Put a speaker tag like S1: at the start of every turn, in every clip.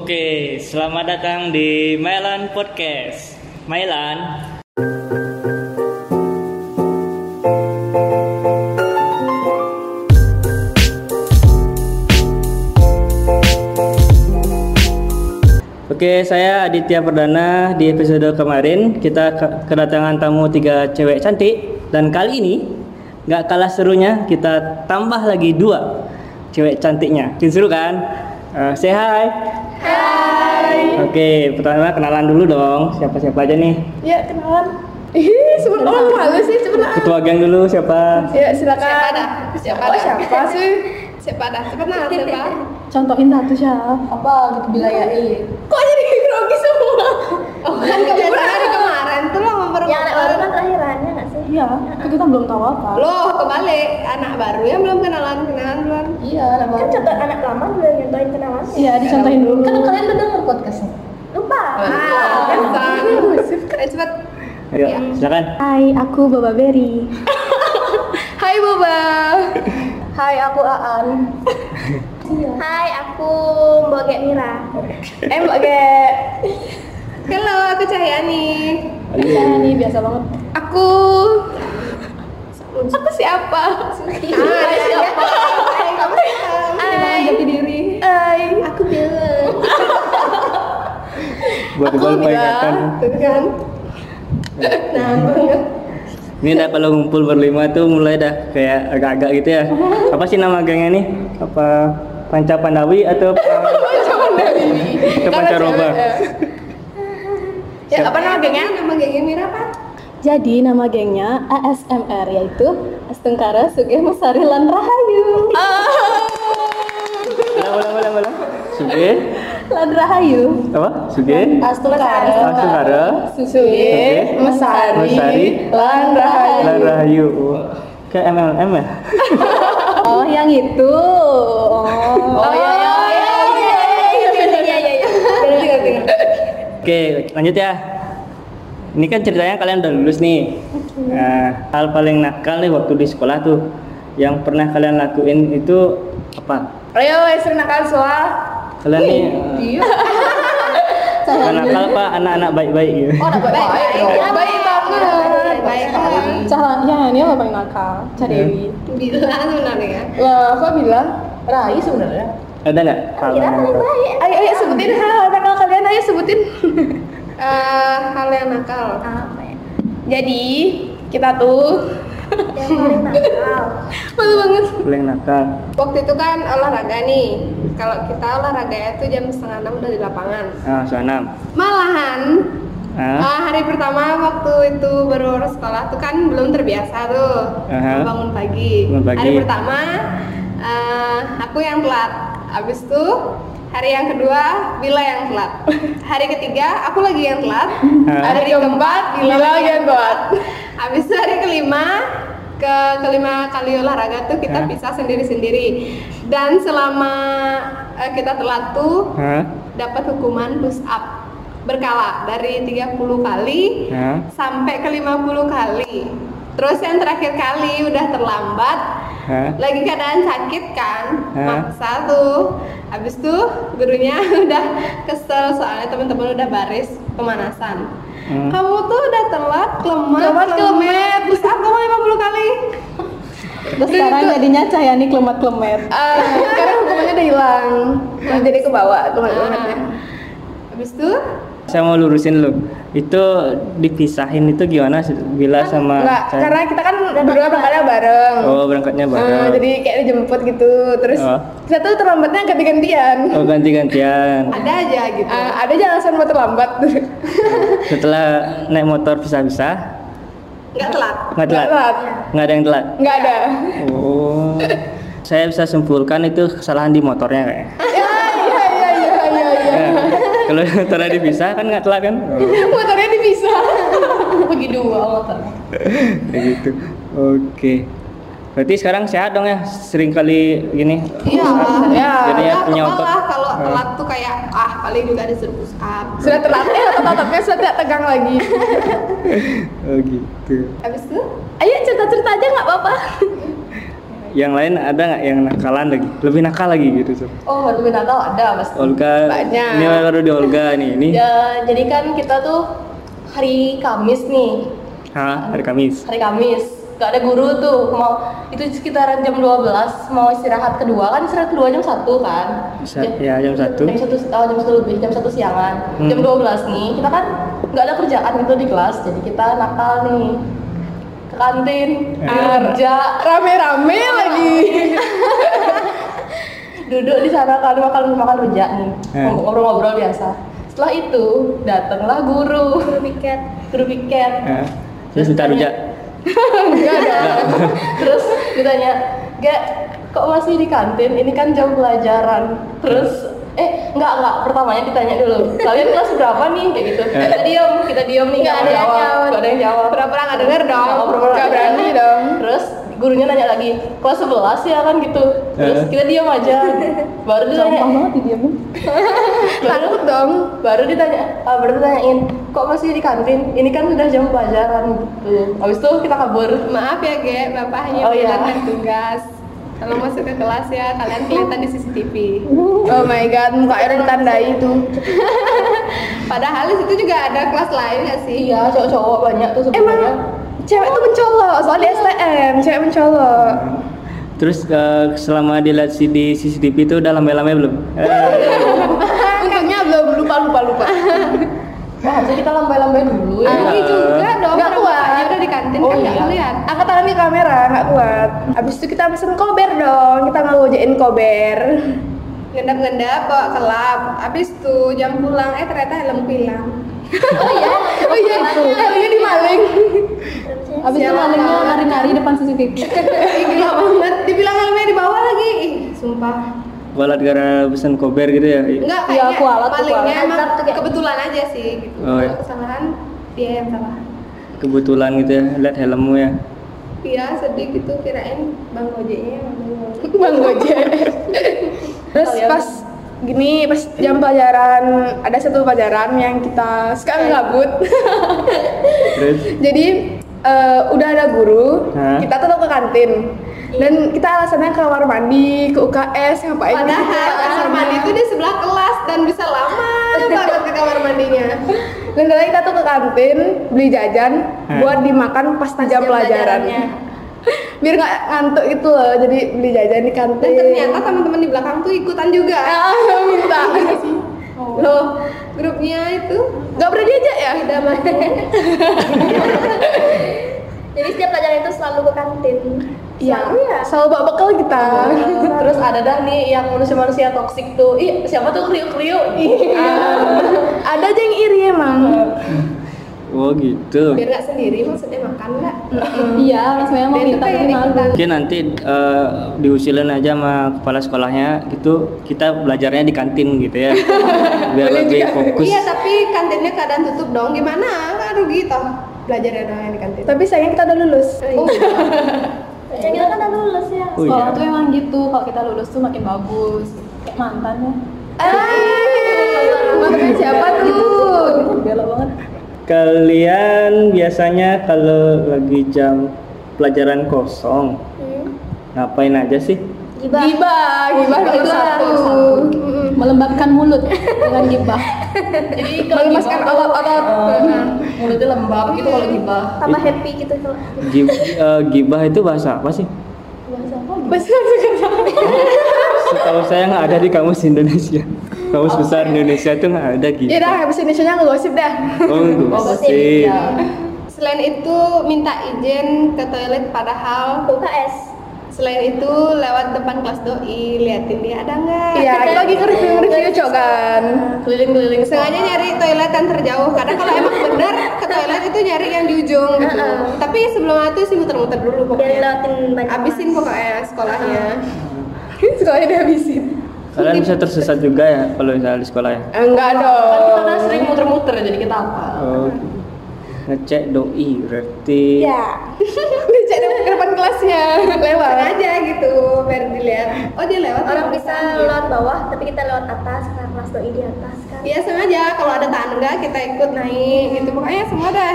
S1: Oke, selamat datang di Mailan Podcast. Mailan. Oke, saya Aditya Perdana. Di episode kemarin kita ke- kedatangan tamu tiga cewek cantik dan kali ini nggak kalah serunya kita tambah lagi dua cewek cantiknya. Jadi seru kan? Eh, say hi. Oke, pertama kenalan dulu dong. Siapa-siapa aja nih?
S2: Ya kenalan. Ih, sebelum oh, malu sih sebenarnya.
S1: Ketua geng dulu siapa?
S2: Ya silakan.
S3: Siapa dah? Siapa
S2: Oh,
S3: dah?
S2: siapa sih?
S3: Siapa dah? Kenal siapa?
S2: Contohin satu siapa?
S3: Apa gitu bilayain?
S2: Kok jadi grogi semua? Iya.
S3: Oh kan kemarin hari kemarin tuh lo
S4: Yang anak baru kan
S3: memperkenalkan
S4: terakhirannya nggak sih?
S2: Iya, kita belum tahu apa.
S3: lo kebalik anak baru yang belum kenalan kenalan belum.
S4: Iya, Kan contoh anak lama juga nyontohin kenalannya.
S2: Iya, dicontohin dulu.
S5: Kan kalian udah denger podcastnya?
S4: Lupa.
S3: Ah, kan Eh, cepet.
S1: Ayo,
S3: Iya.
S1: silakan.
S4: Hai, aku Baba Berry.
S3: Hai Boba.
S4: Hai, aku Aan. Hai, aku Mbok Gek Mira.
S3: Iya. Eh Mbak Gek. Halo, aku Cahyani.
S2: Iya, nih biasa banget.
S3: Aku Aku siapa? Hai, siapa? Hai, kamu siapa? Hai, jati diri. Hai, aku Bella.
S1: Buat
S3: aku
S1: gue lupa
S3: Mira,
S1: ingatan.
S3: gitu kan nah
S1: Ini udah kalau ngumpul berlima tuh mulai dah kayak agak-agak gitu ya. Apa sih nama gengnya nih? Apa Panca Pandawi atau apa? Itu pancaroba.
S3: ya apa nama gengnya nama gengnya Mira apa
S2: Jadi nama gengnya ASMR yaitu Astengkara Sugih Musari Lan Rahayu.
S3: Oh.
S1: Ulang, ulang, ulang, ulang. Suge,
S2: Lan Rahayu.
S1: apa? Suge, Ah,
S2: Astengkara.
S1: langsung ada.
S3: Susuye
S1: Oke. Mesari.
S3: Lan Rahayu.
S1: Lan Rahayu. Kayak MLM ya?
S2: Oh, yang itu. Oh.
S3: oh iya iya iya iya iya iya iya Ngerti, ngerti, ngerti.
S1: Oke, lanjut ya. Ini kan ceritanya kalian udah lulus nih. Nah, hal paling nakal nih waktu di sekolah tuh yang pernah kalian lakuin itu apa?
S3: ayo istri nakal soal
S1: Kalian nih
S3: Iya,
S1: eh, bukan nakal apa anak-anak baik-baik gitu.
S2: Oh, dapat
S3: baik baik
S2: baik.
S3: baik banget baik banget
S2: Cahlan, ya ini apa paling nakal? Cadewi.
S3: Bila ya? sebenarnya
S2: Lah, apa bilang?
S5: Rai sebenarnya.
S1: Ada nggak?
S3: Iya,
S1: Hal
S4: Mira paling
S1: nakal?
S4: baik.
S3: ayo ayo sebutin hal nakal kalian ayo sebutin Eh, hal yang nakal
S4: Apa ya?
S3: jadi kita tuh
S4: Yang paling nakal.
S3: malu banget
S1: Paling nakal.
S3: waktu itu kan olahraga nih kalau kita olahraga itu jam setengah enam udah di lapangan
S1: Ah, Suanam.
S3: malahan
S1: Ah,
S3: eh, hari pertama waktu itu baru sekolah tuh kan belum terbiasa tuh
S1: Aha.
S3: bangun pagi.
S1: Bangun pagi.
S3: hari pertama eh, aku yang telat abis itu hari yang kedua Bila yang telat hari ketiga aku lagi yang telat
S1: ah.
S3: hari keempat Bila lagi yang telat habis itu hari kelima ke kelima kali olahraga tuh
S1: Hah?
S3: kita pisah sendiri-sendiri dan selama eh, kita telat tuh
S1: Ah,
S3: dapat hukuman push up berkala dari 30 kali
S1: ah.
S3: sampai ke 50 kali terus yang terakhir kali udah terlambat
S1: ah.
S3: lagi keadaan sakit kan
S1: Hah?
S3: maksa tuh habis tuh gurunya udah kesel soalnya teman-teman udah baris pemanasan
S1: Hmm.
S3: kamu tuh udah telat kelemet kelemet, terus aku mau 50 kali
S2: Terus sekarang jadinya Cahyani klemet-klemet.
S3: Eh, sekarang ya. hukumannya udah hilang jadi ke
S2: Ah.
S3: bawah kelemet habis tuh
S1: Saya mau lurusin lu. Itu dipisahin itu gimana sih? Bila sama
S3: enggak
S1: Chan?
S3: Kan karena kita kan berdua berangkatnya bareng
S1: Nah, Oh, berangkatnya
S3: Eh,
S1: bareng.
S3: jadi kayak dijemput gitu terus
S1: Oh.
S3: kita tuh terlambatnya ganti-gantian
S1: Oh, ganti-gantian.
S3: ada aja gitu ada aja alasan mau terlambat
S1: Setelah naik motor pisah-pisah,
S3: nggak telat
S1: nggak telat. Nggak ada yang telat.
S3: nggak ada
S1: Oh. Saya bisa simpulkan itu kesalahan di motornya kayaknya. ya,
S3: iya iya iya iya iya
S1: Nah, kalau motornya dipisah kan nggak telat kan?
S3: motornya dipisah
S5: Bagi dua motornya.
S1: Kayak gitu. Oke. Berarti sekarang sehat dong ya, sering kali gini.
S3: iya iya
S1: Jadi ya
S3: Nggak
S1: punya
S3: kepala
S1: otot.
S3: kalau
S1: Eh.
S3: telat tuh kayak ah paling juga disuruh push up sudah telat ya otot-ototnya sudah tidak tegang lagi
S1: Oh gitu.
S3: habis itu
S2: Ayo cerita-cerita aja nggak apa-apa.
S1: yang lain ada nggak yang nakalan lagi lebih nakal lagi gitu sob
S2: Oh, lebih nakal ada pasti.
S1: Olga
S3: Banyak.
S1: ini baru di Olga nih ini
S2: Ya, jadi kan kita tuh hari Kamis nih.
S1: Hah, hari Kamis
S2: Hari Kamis. Gak ada guru tuh. Mau itu sekitaran jam 12 mau istirahat kedua kan istirahat kedua jam 1 kan.
S1: Bisa,
S2: Jam-
S1: ya jam satu
S2: Jam satu, oh, jam satu lebih, jam satu siangan.
S1: Hmm.
S2: Jam 12 nih, kita kan nggak ada kerjaan gitu di kelas, jadi kita nakal nih ke kantin,
S1: Eh.
S2: kerja,
S3: Rame-rame lagi.
S2: duduk di sana kan makan makan rujak nih,
S1: Eh.
S2: ngobrol-ngobrol biasa. Setelah itu datanglah guru,
S4: Guru piket.
S2: guru piket,
S1: Hah? Ya. terus minta
S2: Tanya.
S1: rujak
S2: Enggak ada. Terus ditanya, "Gak, kok masih di kantin? Ini kan jam pelajaran." Terus eh enggak enggak pertamanya ditanya dulu. Kalian kelas berapa nih? Kayak gitu.
S1: Eh.
S2: Kita diam, kita diam nih.
S3: Nggak
S2: Enggak
S3: ada yang jawab.
S2: Enggak ada yang jawab.
S3: Pura-pura nggak denger dong.
S2: Nggak pura-pura
S3: Nggak
S2: nggak
S3: berani
S2: denger.
S3: dong.
S2: Terus gurunya nanya lagi, "Kelas 11 ya kan gitu." Terus
S1: Eh.
S2: kita diam aja. Baru ditanya,
S6: Gampang banget didiamin.
S3: Takut dong.
S2: baru ditanya ah, baru ditanyain kok masih di kantin ini kan sudah jam pelajaran
S6: Hmm.
S2: gitu habis itu kita kabur
S3: Maaf ya, Ge. Bapak hanya
S2: Oh, iya.
S3: menjalankan tugas. Kalau masuk ke kelas ya, kalian kelihatan di CCTV.
S7: Oh my god, muka Aaron ditandai itu.
S3: Padahal di situ juga ada kelas lain nggak sih?
S2: iya cowok-cowok banyak tuh sebenarnya
S7: Emang cewek tuh mencolok, soalnya STM, cewek mencolok.
S1: terus eh, selama dilihat si- di CCTV itu udah lambe-lambe belum Eh,
S7: Untungnya belum lupa lupa lupa.
S6: Nah,
S2: Wah, harusnya kita lambai-lambai dulu ya.
S3: Ini juga dong,
S7: Iya. Nggak
S3: orang
S7: kuat.
S3: bapaknya udah di kantin
S2: Oh,
S3: kan nggak
S2: iya.
S3: kelihatan.
S7: Angkat tangan di kamera, nggak kuat. Abis itu kita pesen kober dong, kita ngegojein kober.
S3: ngendap-ngendap bawa kelap habis itu jam pulang eh ternyata helm hilang
S7: Oh iya, helmnya dimaling.
S6: Abis itu malingnya nari-nari depan CCTV.
S3: Ih, gila banget dibilang helmnya di bawah lagi Ih, sumpah
S1: kualat gara pesan kober gitu ya
S3: enggak
S6: Iya,
S3: kayaknya
S6: aku alat, aku
S3: palingnya
S6: alat.
S3: emang
S6: Azab tuh kayak-
S3: kebetulan aja sih gitu
S1: Oh, iya.
S3: Kalau kesalahan dia yang salah
S1: kebetulan gitu ya lihat helmmu ya
S3: iya sedih gitu kirain bang ojeknya yang ngomong.
S7: Bang Gojek. Terus pas gini pas jam pelajaran ada satu pelajaran yang kita
S3: Kan
S7: suka gabut.
S1: terus
S7: Jadi eh, udah ada guru,
S1: Hah?
S7: kita tetap ke kantin. Dan kita alasannya ke kamar mandi, ke UKS, ngapain
S3: padahal
S7: gitu.
S3: kamar mandi itu di sebelah kelas dan bisa lama banget ke kamar mandinya
S7: Dan ternyata kita tuh ke kantin beli jajan
S1: Hah?
S7: buat dimakan pas jam, pelajarannya. Biar nggak ngantuk gitu loh, jadi beli jajan di kantin.
S3: dan ternyata teman-teman di belakang tuh ikutan juga Iya
S7: Ah, minta.
S3: loh grupnya itu
S7: Gak pernah diajak ya?
S4: Jadi setiap pelajaran itu selalu ke kantin.
S7: Iya.
S4: Selalu ya.
S7: Selalu bawa bekal kita.
S2: Ah. Terus ada dah nih yang manusia-manusia toksik tuh. Ih, siapa tuh kriuk-kriuk? Ah. Ih.
S6: Iya.
S7: ada aja yang iri emang.
S1: oh gitu
S3: biar nggak sendiri maksudnya makan nggak
S6: Iya, rasanya mau
S3: Dia tuh
S6: minta
S3: pengen
S6: tapi malu.
S3: ikutan.
S1: Mungkin nanti eh, diusilin aja sama kepala sekolahnya gitu kita belajarnya di kantin gitu ya. Biar lebih fokus.
S3: Iya tapi kantinnya keadaan tutup dong gimana? Kan rugi toh belajarnya doang yang di kantin.
S7: Tapi sayang kita udah lulus.
S3: Oh,
S4: Dan kita kan udah lulus ya.
S1: Oh
S6: Sekolah
S1: iya.
S6: tuh emang gitu, kalau kita lulus tuh makin bagus. Kayak mantan ya.
S3: Ah, iya.
S7: Makan siapa tuh?
S3: Gitu.
S6: Belok banget.
S1: Kalian biasanya kalau lagi jam pelajaran kosong ngapain aja sih?
S4: Gibah.
S7: Gibah, gibah
S3: Gibah
S7: nomor
S3: satu.
S7: satu.
S6: Melembabkan mulut dengan gibah.
S2: Jadi kalau
S7: Melemaskan
S2: gibah tuh,
S7: otot-otot.
S2: eh, mulutnya lembab gitu kalau gibah.
S4: Tambah happy gitu kalau
S1: Gi- eh, gibah itu bahasa apa sih?
S7: Bahasa Indonesia.
S1: Setahu saya nggak ada di kamus Indonesia. Kamus besar Indonesia itu nggak ada
S7: Oh, Ya
S1: gibah.
S7: udah, bahasa Indonesia ngegosip dah. ya.
S1: Oh, gosip.
S2: Iya.
S3: Selain itu minta izin ke toilet padahal
S4: ke UKS.
S3: selain itu lewat depan kelas doi liatin dia ada nggak?
S7: Iya, kita lagi nge-review-review cogan.
S2: Keliling-keliling
S3: Sengaja nyari toilet yang terjauh karena kalau emang bener ke toilet itu nyari yang di ujung gitu. Tapi sebelum itu sih muter-muter dulu
S4: Biar
S3: pokoknya.
S4: lewatin banyak.
S3: Abisin
S4: orang.
S3: pokoknya sekolahnya.
S7: Sekolahnya dihabisin.
S1: Kalian bisa tersesat juga ya kalau misalnya di sekolah ya.
S7: Enggak
S2: Kan kita udah
S7: dong.
S2: sering muter-muter jadi kita apa?
S1: Oh, ngecek doi berarti.
S4: Iya.
S7: Udah cek dong ke depan kelasnya. Lewat.
S3: Sengaja gitu biar dilihat. Oh dia lewat.
S4: Iya. Orang
S3: ya.
S4: bisa lewat bawah, tapi kita lewat atas karena kelas doi di atas kan.
S3: Ya sengaja kalau ada tangga kita ikut naik gitu pokoknya semua dah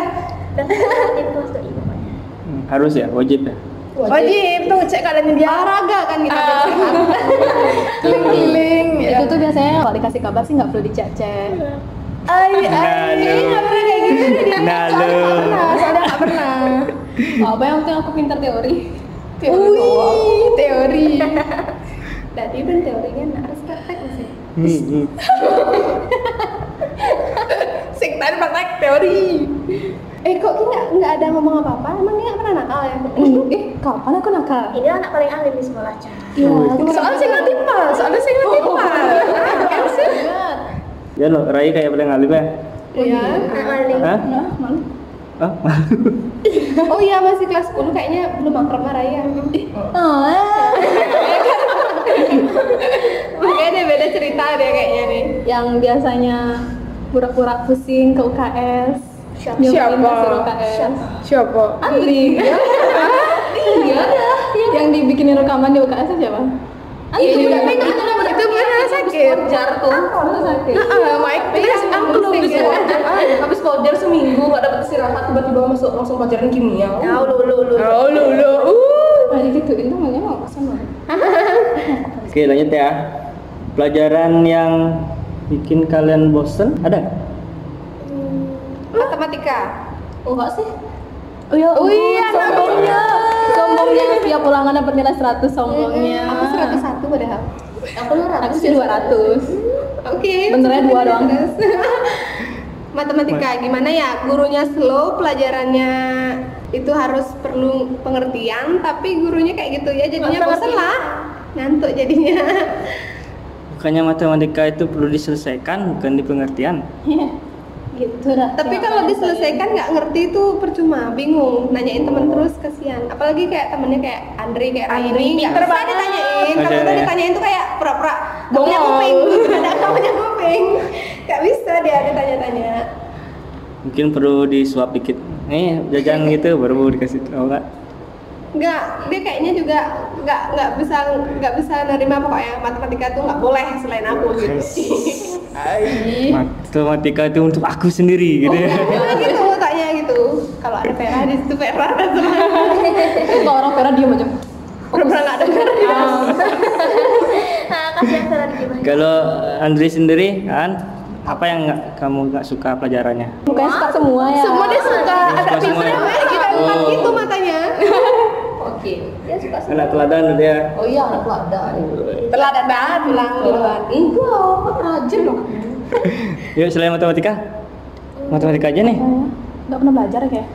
S4: Dan kita di kelas doi pokoknya.
S1: Hmm, Harus ya, wajib ya.
S7: Wajib tuh cek keadaannya dia.
S3: olahraga kan kita bersihin.
S7: Keliling. ya.
S2: Itu tuh biasanya kalau dikasih kabar sih nggak perlu dicek-cek.
S7: Ai
S1: Nah, lu.
S7: ai. Iya, Nggak pernah kayak gitu. Dina.
S1: Nah, lu.
S7: Soalnya nggak pernah. Soalnya nggak pernah.
S2: Apa yang penting aku pintar teori.
S7: Teori. doang. Teori.
S3: Berarti ben teorinya nak harus praktek masih.
S1: Hmm, hmm.
S7: Sing tadi praktek teori.
S3: Eh kok kita nggak nggak ada ngomong apa-apa? Emang dia nggak pernah nakal ya?
S2: eh, kapan aku nakal?
S4: Ini anak paling ahli di sekolah Cak.
S2: Iya, aku
S7: Soalnya sing nanti pas. Soalnya sing nanti pas. Kan sih.
S1: Ya lo, Rai kayak paling alim ya?
S3: Iya.
S4: Anak ahli.
S1: Hah?
S2: Nah, malu.
S1: Oh,
S3: Oh iya masih kelas 10 kayaknya belum akrab sama Raya.
S2: Oh,
S3: Makanya dia beda cerita deh kayaknya nih.
S2: yang biasanya pura-pura pusing ke UKS
S4: Siapa?
S2: nyobain
S7: Siapa?
S2: hasil UKS
S7: Siapa?
S2: Andri iya yang dibikinin rekaman di UKS itu siapa Iya,
S7: Itu
S2: Andri
S7: tapi itu itu beneran sakit.
S5: Wajar tuh.
S2: Kamu sakit
S3: Iya,
S2: Iya,
S7: Heeh, Mike. Terus aku belum
S2: gitu.
S5: Habis wajar, habis wajar seminggu nggak dapat istirahat tiba-tiba masuk langsung pelajaran kimia.
S3: Ya,
S4: Tahu lu lu lu.
S7: Oh, lu lu. Uh.
S2: Nah, digituin tuh makanya mau kesana
S1: Oke lanjut ya. Pelajaran yang bikin kalian bosen ada? nggak?
S3: Matematika.
S2: oh enggak sih Oh iya, oh, iya sombongnya Sombongnya, setiap ulangan dapat nilai 100 sombongnya
S3: Aku 101 padahal.
S5: Aku lu
S2: Aku sih 200
S3: Oke.
S2: Benernya dua doang.
S3: Terus. Matematika gimana ya? Gurunya slow, pelajarannya itu harus perlu pengertian, tapi gurunya kayak gitu ya jadinya bosen lah. Ngantuk jadinya.
S1: Bukannya matematika itu perlu diselesaikan bukan di pengertian?
S2: Iya. Gitu dah
S3: tapi kalau diselesaikan nggak ngerti itu percuma, bingung. Nanyain temen terus kasihan. Apalagi kayak temennya kayak Andri kayak Raini nggak bisa ditanyain. Kalau
S1: Oke.
S3: tuh ditanyain tuh kayak pura-pura nggak punya kuping, ada nggak punya kuping. Nggak bisa dia ditanya-tanya.
S1: Mungkin perlu disuap dikit. Nih jajan gitu baru dikasih tahu nggak?
S3: nggak dia kayaknya juga nggak nggak bisa nggak bisa nerima pokoknya matematika tuh nggak boleh selain aku gitu
S1: Matematika itu untuk aku sendiri gitu ya.
S3: Cuma gitu kayaknya gitu kalau ada Vera di situ Vera ada semua
S2: Kalau orang Vera diem aja
S3: pernah nggak dengar
S4: Ah, kasihan Sarah gimana?
S1: Kalau Andri sendiri kan apa yang nggak kamu nggak suka pelajarannya?
S2: Mukanya suka semua ya
S3: semua dia suka ada
S1: Suka semua
S3: pinter
S1: ya?
S3: kayak kita empat
S1: Oh.
S3: gitu matanya
S5: Oke.
S4: Dia suka sama
S1: Anak teladan gitu ya. dia.
S5: Oh iya anak lada.
S3: telat banget bilang duluan
S5: Enggak, rajin loh.
S1: Yuk selain matematika, matematika aja nih.
S2: Gak pernah belajar ya kayak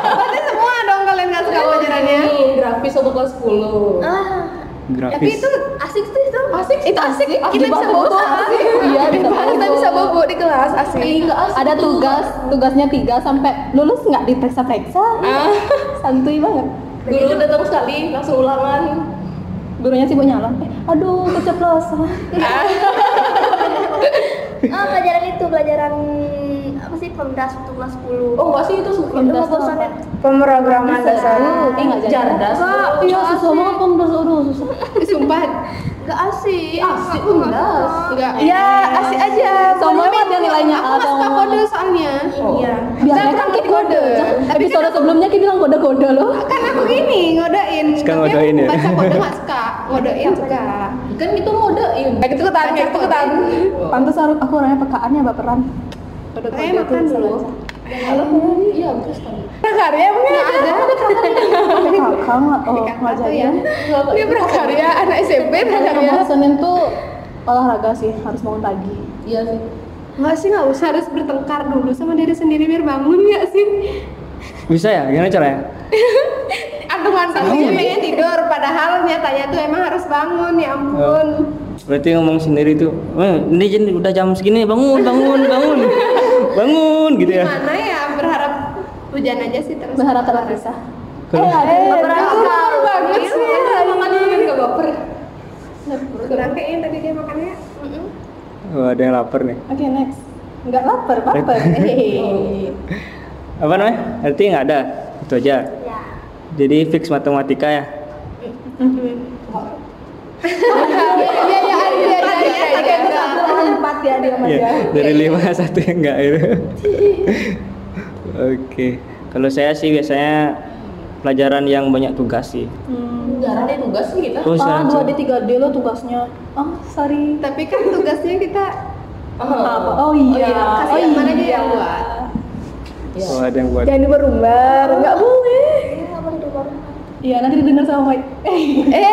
S3: berarti semua dong kalian nggak suka pelajarannya
S5: Ini grafis untuk kelas 10.
S4: Ah,
S3: tapi
S1: Grafis.
S3: itu
S4: asik tuh itu.
S7: Asik, itu asik. Kita bisa
S2: banget,
S7: bobo.
S2: asik. Iya, bisa
S7: Kita
S2: bobo.
S7: bisa bobo di kelas
S3: Iya,
S7: asik.
S2: ada tugas tugasnya tiga sampai lulus nggak diperiksa-periksa
S3: Ah.
S2: santuy banget
S5: Guru datang sekali langsung ulangan.
S2: gurunya sibuk nyalon eh, aduh keceplosan
S4: Ah, pelajaran itu pelajaran apa sih pemdas untuk kelas 10.
S5: Oh, enggak sih itu suka
S4: itu ya?
S2: pemdas
S4: bosannya.
S7: Pemrograman dasar.
S2: eh nggak jadi
S5: Jardas.
S4: Enggak,
S2: iya susah banget pemdas aduh susah
S3: sumpah
S4: enggak asik.
S5: Asik pemdas.
S3: nggak Iya,
S7: Ya, asik aja.
S2: Sombongnya
S7: Kode
S2: ada nilainya A
S3: aku nggak
S2: atau
S3: suka
S2: nggak.
S3: kode soalnya Nah,
S4: Iya.
S2: biasanya
S7: Jangan
S2: kan kita
S7: kode.
S2: kode episode sebelumnya kita bilang kode-kode loh
S3: kan aku gini ngodain
S1: Suka
S3: tapi
S1: ngodain
S3: aku
S1: ya?
S3: baca kode nggak suka ngodain suka
S5: Kan itu mode ini.
S7: Kayak ketan, kayak ketan.
S2: pantas aku aku orangnya pekaannya baperan
S3: kayak makan dulu
S5: Iya, betul sekali.
S7: Prakarya mungkin
S3: nggak ada
S2: kakak nggak oh
S3: Kakak
S2: nggak
S3: tuh
S2: jadi
S3: ya.
S7: Dia prakarya anak SMP
S2: Karena
S7: prakarya.
S2: Senin tuh olahraga sih harus bangun pagi
S5: Iya sih.
S3: nggak sih nggak usah harus bertengkar dulu sama diri sendiri biar bangun nggak sih
S1: Bisa ya? Gimana caranya?
S3: antum-antum aja pengen tidur padahal nyatanya tuh emang harus bangun ya ampun
S1: Berarti ngomong sendiri tuh, "Eh, ini Jen, udah jam segini bangun, bangun, bangun, bangun gitu ya.
S3: gimana ya berharap hujan aja sih terus
S2: berharap terpisah
S1: Kalau-
S7: Eh, baper banget sih.
S5: Makan dulu enggak baper.
S3: kurang kayaknya tadi dia makannya
S1: Wah, ada yang lapar nih.
S2: Oke next. Nggak lapar, baper. Hehehe.
S1: Apa namanya? Berarti nggak ada, itu aja.
S4: Ya.
S1: Jadi fix matematika ya.
S7: Iya, iya, iya, iya, iya, iya, iya.
S2: Empat ya dia sama
S1: Iya,
S2: dia.
S1: dari lima satu yang enggak gitu. Oke, kalau saya sih biasanya pelajaran yang banyak tugas sih.
S5: Jarang deh tugas sih kita.
S1: Oh,
S2: Ah,
S1: saran,
S2: 2
S1: saran.
S2: D 3 D lo tugasnya. Ah, sorry.
S3: Tapi kan tugasnya kita
S2: Apa? Oh iya.
S3: kasih yang mana dia yang buat.
S5: Iya.
S1: Oh, ada yang buat.
S7: Jangan diumbar-umbar, nggak boleh.
S4: Ini nggak boleh diubah.
S2: Iya, nanti didengar sama Mike.
S3: Eh,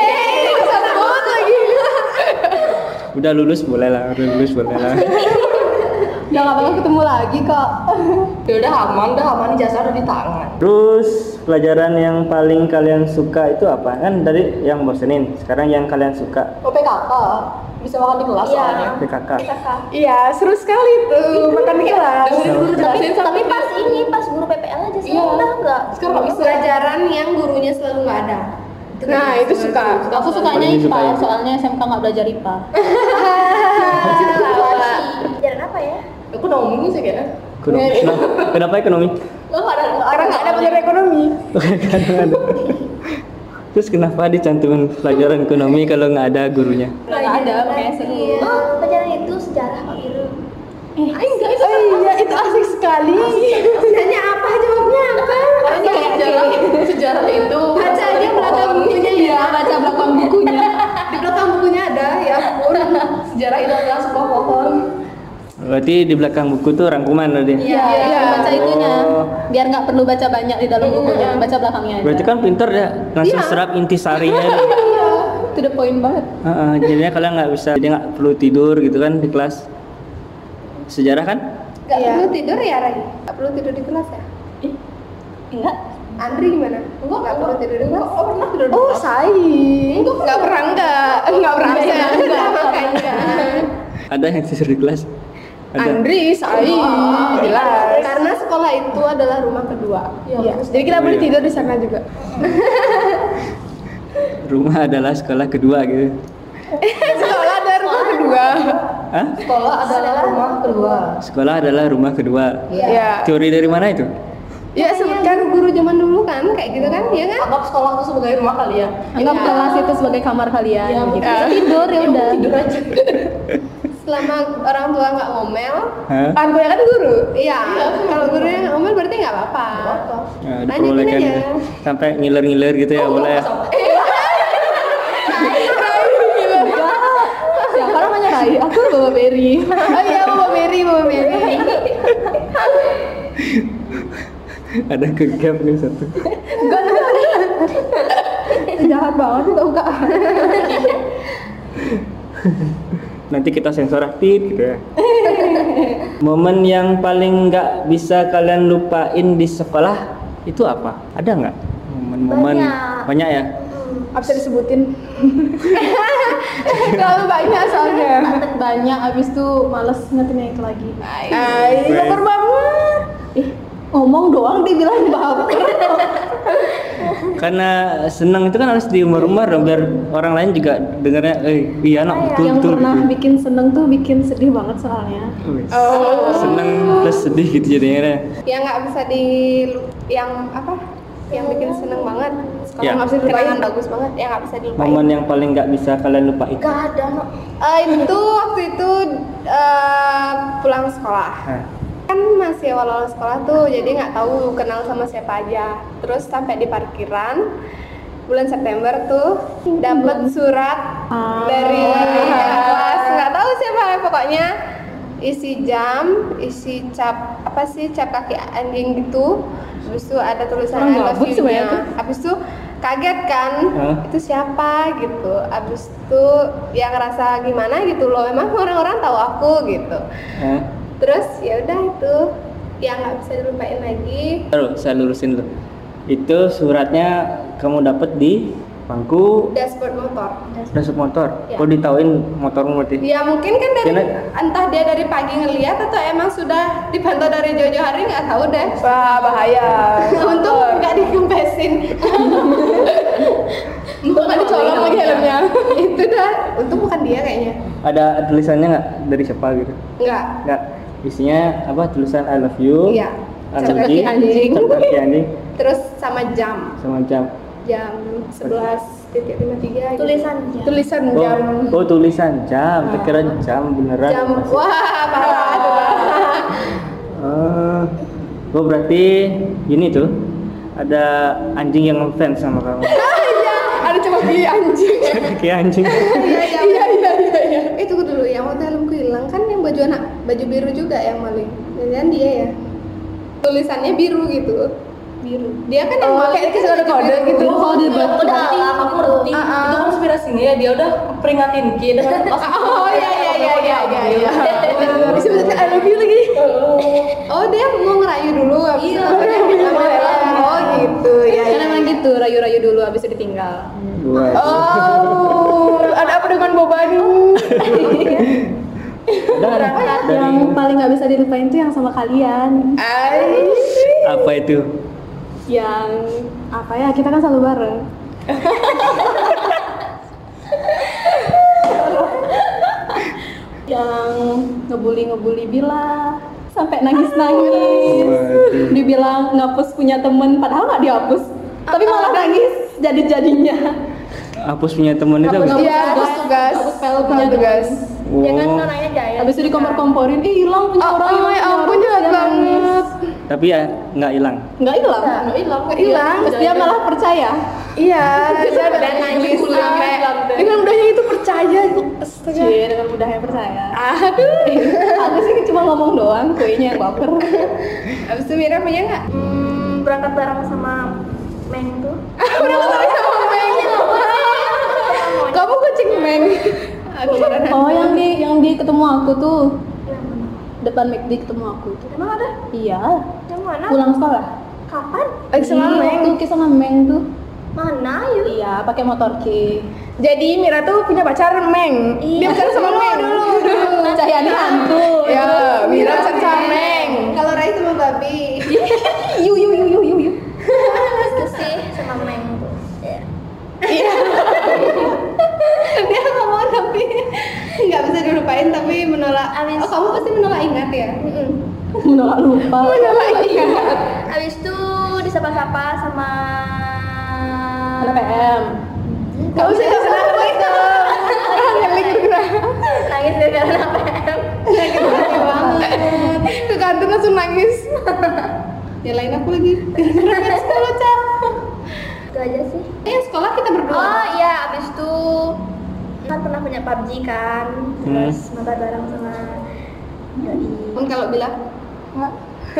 S1: Udah lulus boleh lah, udah lulus boleh lah.
S2: Udah gak bakal ketemu lagi kok.
S5: Ya udah aman, udah aman jasa udah di tangan.
S1: Terus pelajaran yang paling kalian suka itu apa? Kan dari yang bosenin, sekarang yang kalian suka
S5: Oh PKK bisa makan di kelas
S4: Iya.
S5: soalnya.
S1: PKK.
S7: Iya, seru sekali tuh makan di kelas.
S5: Dengerin guru
S4: Tapi,
S5: jelasin
S4: tapi pas ini pas guru PPL aja sih udah nggak. Iya,
S5: Sekarang nggak bisa.
S3: Pelajaran yang gurunya selalu nggak ada. kan
S7: Nah, itu suka.
S2: Aku sukanya
S1: Paling suka
S2: IPA,
S1: IPA.
S2: soalnya SMK gak belajar IPA.
S4: Pelajaran apa ya?
S5: Aku ngomongin sih kayaknya.
S1: Ekonomi. Kenapa, kenapa ya, ekonomi?
S5: Lo nggak ada
S7: Karena nggak ada pelajaran ekonomi.
S1: Terus kenapa dicantumin pelajaran ekonomi kalau nggak ada gurunya?
S2: Gak ada, makanya seru.
S4: Oh, pelajaran itu sejarah Pak Iru.
S2: Ah,
S7: Oh iya, itu asik sekali.
S3: Nanya apa jawabnya apa?
S5: Ini kayak sejarah, sejarah itu. Iya.
S3: Baca aja belakang bukunya ya. Baca belakang bukunya. Di belakang bukunya ada ya ampun.
S5: Sejarah itu adalah sebuah pohon.
S1: Berarti di belakang buku tuh rangkuman tadi.
S2: Iya,
S7: Iya.
S2: baca itunya.
S1: Oh.
S2: Biar gak perlu baca banyak di dalam
S5: Iya.
S2: bukunya, baca belakangnya aja.
S1: Berarti kan pinter ya,
S2: Iya.
S1: langsung serap intisarinya.
S2: To the point banget.
S1: Heeh, jadinya kalian nggak bisa, jadi nggak perlu tidur gitu kan di kelas. Sejarah kan?
S3: Gak
S7: Iya.
S3: perlu tidur ya Rai? Gak perlu tidur di kelas ya?
S2: Enggak.
S3: Andri gimana? Enggak, gak perlu tidur di kelas. Oh, pernah tidur
S7: Oh, saing.
S3: Enggak pernah enggak.
S7: Oh,
S3: Enggak pernah enggak. Enggak makanya.
S1: Ada yang tidur di kelas? Ada.
S7: Andri, saing. Iya, Jelas.
S3: Karena sekolah itu adalah rumah kedua.
S7: Iya, Jadi kita boleh
S1: Iya.
S7: tidur di sana juga.
S1: Rumah adalah sekolah kedua gitu.
S7: Sekolah ada rumah kedua.
S1: Hah?
S5: Sekolah adalah rumah kedua.
S1: Sekolah adalah rumah kedua.
S7: Iya.
S1: Teori dari mana itu?
S7: Iya, sebutkan
S3: guru zaman dulu kan kayak gitu kan, ya kan?
S5: Anggap sekolah itu sebagai rumah kali ya.
S2: Anggap
S3: Iya.
S2: kelas itu sebagai kamar kalian.
S5: Iya,
S2: gitu.
S5: iya.
S2: Tidur ya udah.
S5: Tidur aja.
S3: Selama orang tua nggak ngomel,
S1: Hah?
S2: Ah,
S7: Aku ya kan guru.
S3: iya. Kalau gurunya nggak ngomel berarti nggak apa-apa.
S1: Ya,
S3: Lanjutin
S1: diperbolehkan
S3: aja.
S1: gitu. sampai ngiler-ngiler gitu
S2: Oh,
S1: ya boleh.
S2: Siapa namanya Rai? Aku Bawa Berry.
S7: Oh iya, Mama Mary, Mama
S3: Iya.
S7: Mary.
S1: Ada kegap nih satu.
S2: Jahat banget itu enggak.
S1: Nanti kita sensor aktif gitu ya. Momen yang paling nggak bisa kalian lupain di sekolah itu apa? Ada nggak? Momen-momen
S4: Banyak.
S1: banyak ya.
S7: Apa bisa disebutin? Terlalu banyak soalnya.
S2: Banyak abis itu males ngetin itu lagi.
S7: Ah, Ay, baper banget.
S2: Ih, ngomong doang dibilang baper.
S1: Karena senang itu kan harus diumbar-umbar dong biar orang lain juga dengarnya, eh iya anak betul
S2: Yang
S1: betul.
S2: pernah
S1: gitu.
S2: bikin seneng tuh bikin sedih banget soalnya.
S1: Wih, Seneng plus sedih gitu jadinya.
S3: Yang nggak bisa di, yang apa? Yang bikin seneng banget. Sekolah
S1: Ya.
S3: nggak bisa dilupain. Kenangan bagus banget, yang nggak bisa dilupain.
S1: Momen yang paling nggak bisa kalian lupain. Nah,
S4: Gak ada no.
S3: Eh, itu waktu itu eh, pulang sekolah.
S1: Hah.
S3: kan masih awal-awal sekolah tuh jadi nggak tahu kenal sama siapa aja terus sampai di parkiran bulan September tuh dapat
S2: Hmm.
S3: surat
S2: Ah.
S3: dari kelas nggak tahu siapa pokoknya isi jam isi cap apa sih cap kaki anjing gitu habis itu ada
S2: Orang
S3: tulisan I love
S2: gabut sih
S3: you-nya.
S2: banyak tuh.
S3: habis itu kaget kan
S1: Hah?
S3: itu siapa gitu habis itu yang ngerasa gimana gitu loh emang orang-orang tahu aku gitu
S1: Hah?
S3: terus ya udah itu yang nggak bisa dilupain lagi
S1: Taruh, saya lurusin dulu. Itu suratnya kamu dapat di bangku
S3: dashboard motor
S1: dasar motor.
S3: Ya.
S1: Kok ditauin motormu berarti?
S3: ya mungkin kan dari
S1: Kena-
S3: entah dia dari pagi ngeliat atau emang sudah dipantau dari jojo hari nggak tahu deh
S7: Wah, bahaya.
S3: untung nggak dikempesin
S7: Untung nggak dicolong lagi helmnya.
S3: Iya. itu dah untung bukan dia kayaknya
S1: Ada tulisannya nggak dari siapa gitu?
S3: nggak
S1: Nggak. Isinya apa? Tulisan I love you.
S3: Iya.
S1: I
S3: Cap
S1: love
S3: kaki
S1: you,
S3: anjing.
S1: cap kaki anjing.
S3: terus sama jam
S1: Sama jam.
S3: jam 11.53 titik gitu.
S4: Tulisan aja.
S7: Tulisan
S1: Oh,
S7: jam. Ah.
S1: oh, tulisan jam. Saya kira jam beneran.
S3: jam wah parah tuh
S1: Eh, oh berarti ini tuh ada anjing yang ngefans sama kamu
S7: ada cuma di anjing
S1: kayak anjing
S3: Iya, iya,
S7: iya iya iya iya
S3: Eh tunggu dulu, yang waktu helmku hilang kan yang baju anak baju biru juga yang maling. Jangan dia ya. Tulisannya biru gitu. Biru. Dia kan yang
S5: Oh,
S3: pakai
S5: itu ada
S3: baju
S5: kode
S3: biru.
S5: gitu.
S2: Oh, dia
S5: udah,
S2: berarti-
S5: berarti aku ngerti.
S3: Ah, ah.
S5: Itu
S2: kan
S5: konspirasinya ya, dia udah peringatin Ki dengan pas
S3: Oh iya iya iya iya iya. iya.
S7: bisa bisa I love you lagi
S3: Oh dia mau ngerayu dulu abis
S2: Iya.
S3: itu akhirnya bilang, Oh gitu ya.
S2: Kan emang gitu, rayu-rayu dulu habis itu ditinggal.
S1: Wah.
S7: oh ada apa dengan Boban
S3: Anu?
S1: dan dari
S2: Yang paling nggak bisa dilupain tuh yang sama kalian.
S7: Aish
S1: apa itu
S2: Yang apa ya? Kita kan selalu bareng. yang ngebully-ngebully Bila sampai nangis-nangis.
S1: Waduh.
S2: Dibilang ngapus punya temen, padahal nggak dihapus. Tapi malah nangis jadi-jadinya.
S1: hapus punya temen itu apa?
S2: Hapus
S7: Iya,
S2: tugas,
S7: hapus tugas.
S2: hapus PL
S7: Hapus
S2: punya
S7: tugas.
S2: temen.
S4: Jangan
S1: Oh.
S4: nonanya jaya.
S2: Habis itu dikompor-komporin, ih hilang punya
S7: Oh,
S2: orang.
S7: oh ya ampun jahat banget
S1: tapi ya nggak hilang
S2: Enggak hilang.
S5: Nggak hilang,
S7: Nggak hilang.
S2: Terus dia malah percaya.
S7: Iya, dan,
S3: Dan nangis sampai
S7: dengan mudahnya itu percaya itu astaga.
S2: Cie, dengan mudahnya percaya.
S7: Aduh.
S2: Aku sih cuma ngomong doang, kuenya yang baper.
S3: Abis itu Mira punya nggak?
S4: Hmm, berangkat bareng sama Meng tuh.
S7: Kamu kucing meng.
S3: Aku beneran.
S2: Oh, yang di yang di ketemu aku tuh depan McD ketemu aku tuh.
S4: Emang ada?
S2: Iya,
S4: Yang mana?
S2: pulang sekolah.
S4: Kapan?
S7: Lagi Eh, sama
S2: Iya,
S7: Meng.
S2: Waktu kisah sama Meng tuh.
S4: Mana yuk?
S2: Iya, pakai motor Ki.
S7: Jadi Mira tuh punya pacar meng.
S3: Iya.
S7: Dia pacaran sama meng. Dulu,
S2: Cahyani hantu.
S7: Ya, Mira pacaran sama meng. Iya,
S3: Kalau Rai sama babi.
S2: Yu yu yu yu yu yu.
S4: Terus sih sama Meng tuh. Iya.
S3: dia ngomong tapi nggak bisa dilupain tapi menolak oh kamu pasti menolak ingat ya
S2: Menolak lupa.
S3: menolak ingat
S4: Habis itu disapa-sapa sama
S2: Ada PM.
S7: Kamu sih enggak kenapa itu. Ngelik Mira.
S4: nangis gara-gara apa?
S7: Banget. Ke kantin langsung nangis.
S3: nyalain aku lagi
S4: Itu aja sih.
S3: eh sekolah kita berdua
S7: Ah.
S4: Oh iya, abis itu kan pernah punya PUBG kan,
S1: Hmm.
S4: terus mabar bareng sama Doi.
S3: Om kalau bilang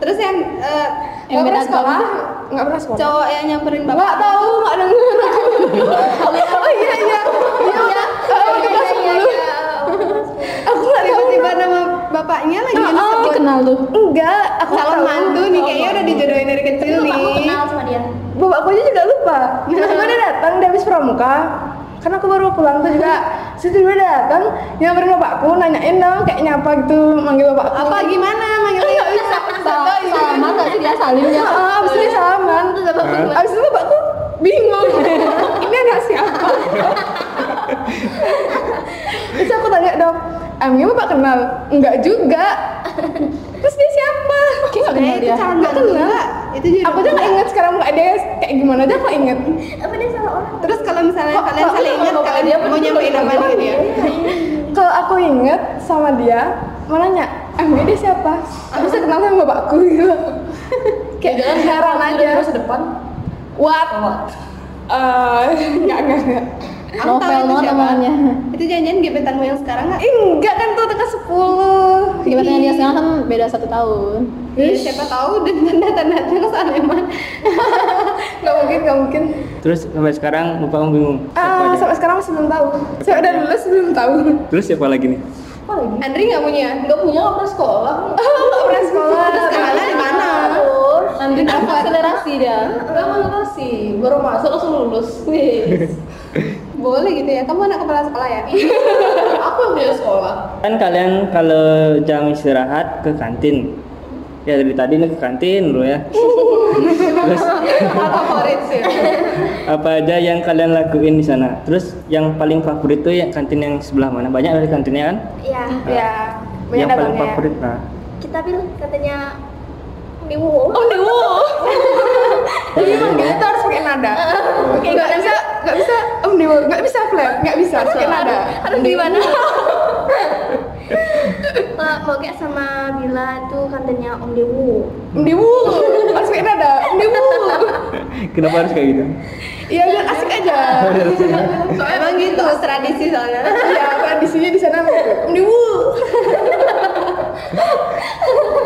S3: terus yang eh,
S2: Yang
S7: Nggak
S2: beda
S7: pernah sekolah. Enggak pernah sekolah.
S3: cowok yang nyamperin bapak
S7: Enggak tahu, enggak denger. Oh iya iya. Iya. Oh, kelas
S2: Iya,
S7: 10. Aku enggak tahu.
S3: tiba-tiba nama bapaknya lagi
S2: Oh,
S3: disebut
S2: kenal tuh.
S7: Enggak, aku nggak
S3: calon
S7: tahu.
S3: mantu nih kayaknya udah dijodohin dari kecil
S4: Itu
S3: nih
S4: aku kenal sama dia.
S7: Bapakku aja juga lupa. Tiba-tiba dia datang dia habis pramuka. Karena aku baru pulang tuh juga. Terus tiba-tiba dia datang nyamperin bapakku, nanyain dong kayak nyapa gitu, manggil bapakku. Iya,
S3: apa gimana manggilnya
S2: Sa- Salaman gak sih dia salimnya?
S7: Heeh, Oh, abis itu dia salaman. Terus bapakku bilang- Abis itu bapakku bingung. Ini anak siapa? Terus aku tanya dong, emangnya bapak kenal? Enggak juga. Terus dia siapa? Kayak
S2: Sebenarnya itu
S7: enggak kenal dia.
S3: calon
S7: Enggak
S3: mantu
S7: kenal.
S3: juga. itu jodoh
S7: Aku aja nggak inget sekarang nggak ada kayak gimana aja aku inget.
S4: Apa dia salah orang? Iya.
S3: terus kalau misalnya
S7: Kok-
S3: kalian
S7: kok-
S3: saling ingat
S7: kok-
S3: kalian
S7: dia gitu? Iya.
S3: mau nyampein apa nih dia
S7: Kalau aku inget sama dia, mau nanya, emangnya dia siapa? Aku bisa kenal sama bapakku gitu. kayak heran aja.
S5: masa depan.
S7: What? Eh, nggak nggak nggak.
S3: Aku tahu
S2: Novel
S3: itu
S2: banget
S3: siapa.
S2: namanya.
S3: itu janjian gebetanmu yang sekarang nggak
S7: Ih, Enggak kan tuh dekat 10
S2: Gibatannya dia sekarang kan beda satu tahun.
S3: Ya, siapa tahu dengan data-data ya, Saleman
S7: Gak mungkin, gak mungkin
S1: terus sampai sekarang bapakmu bingung siapa
S7: Ah,
S1: dia?
S7: sampai sekarang masih belum tahu Saya udah lulus belum tahu
S1: terus siapa lagi nih
S3: Andri nggak punya Oh,
S5: Enggak punya nggak pernah sekolah.
S7: Gak pernah sekolah
S3: terus kenalan di mana
S2: Nanti akselerasi dia.
S5: Enggak pernah sih. Baru masuk langsung lulus.
S3: boleh gitu ya kamu anak kepala sekolah ya
S5: Aku yang punya sekolah.
S1: kan kalian kalau jam istirahat ke kantin ya dari tadi nih ke kantin dulu ya
S3: Apa favorit sih
S1: apa aja yang kalian lakuin di sana terus yang paling favorit tuh ya kantin yang sebelah mana banyak dari kantinnya kan
S4: Iya.
S7: Ya, banyak
S1: yang paling
S7: dagangnya.
S1: favorit nah
S4: Kita bilang katanya Niwo.
S7: Oh, dewo
S4: Iya,
S7: Jadi manggilnya tuh harus pakai nada Gak bisa, gak bisa Om dewo, gak bisa flat, gak bisa harus pakai nada
S4: Aduh gimana? Nah, mau kayak sama Bila itu kantornya Om Dewu.
S7: Om dewo, harus pakai nada Om dewo
S1: Kenapa harus kayak gitu? Oh, iya,
S7: Iya biar asik aja.
S1: ya.
S3: Soalnya emang gitu tradisi soalnya.
S7: Iya tradisinya di sana di wu.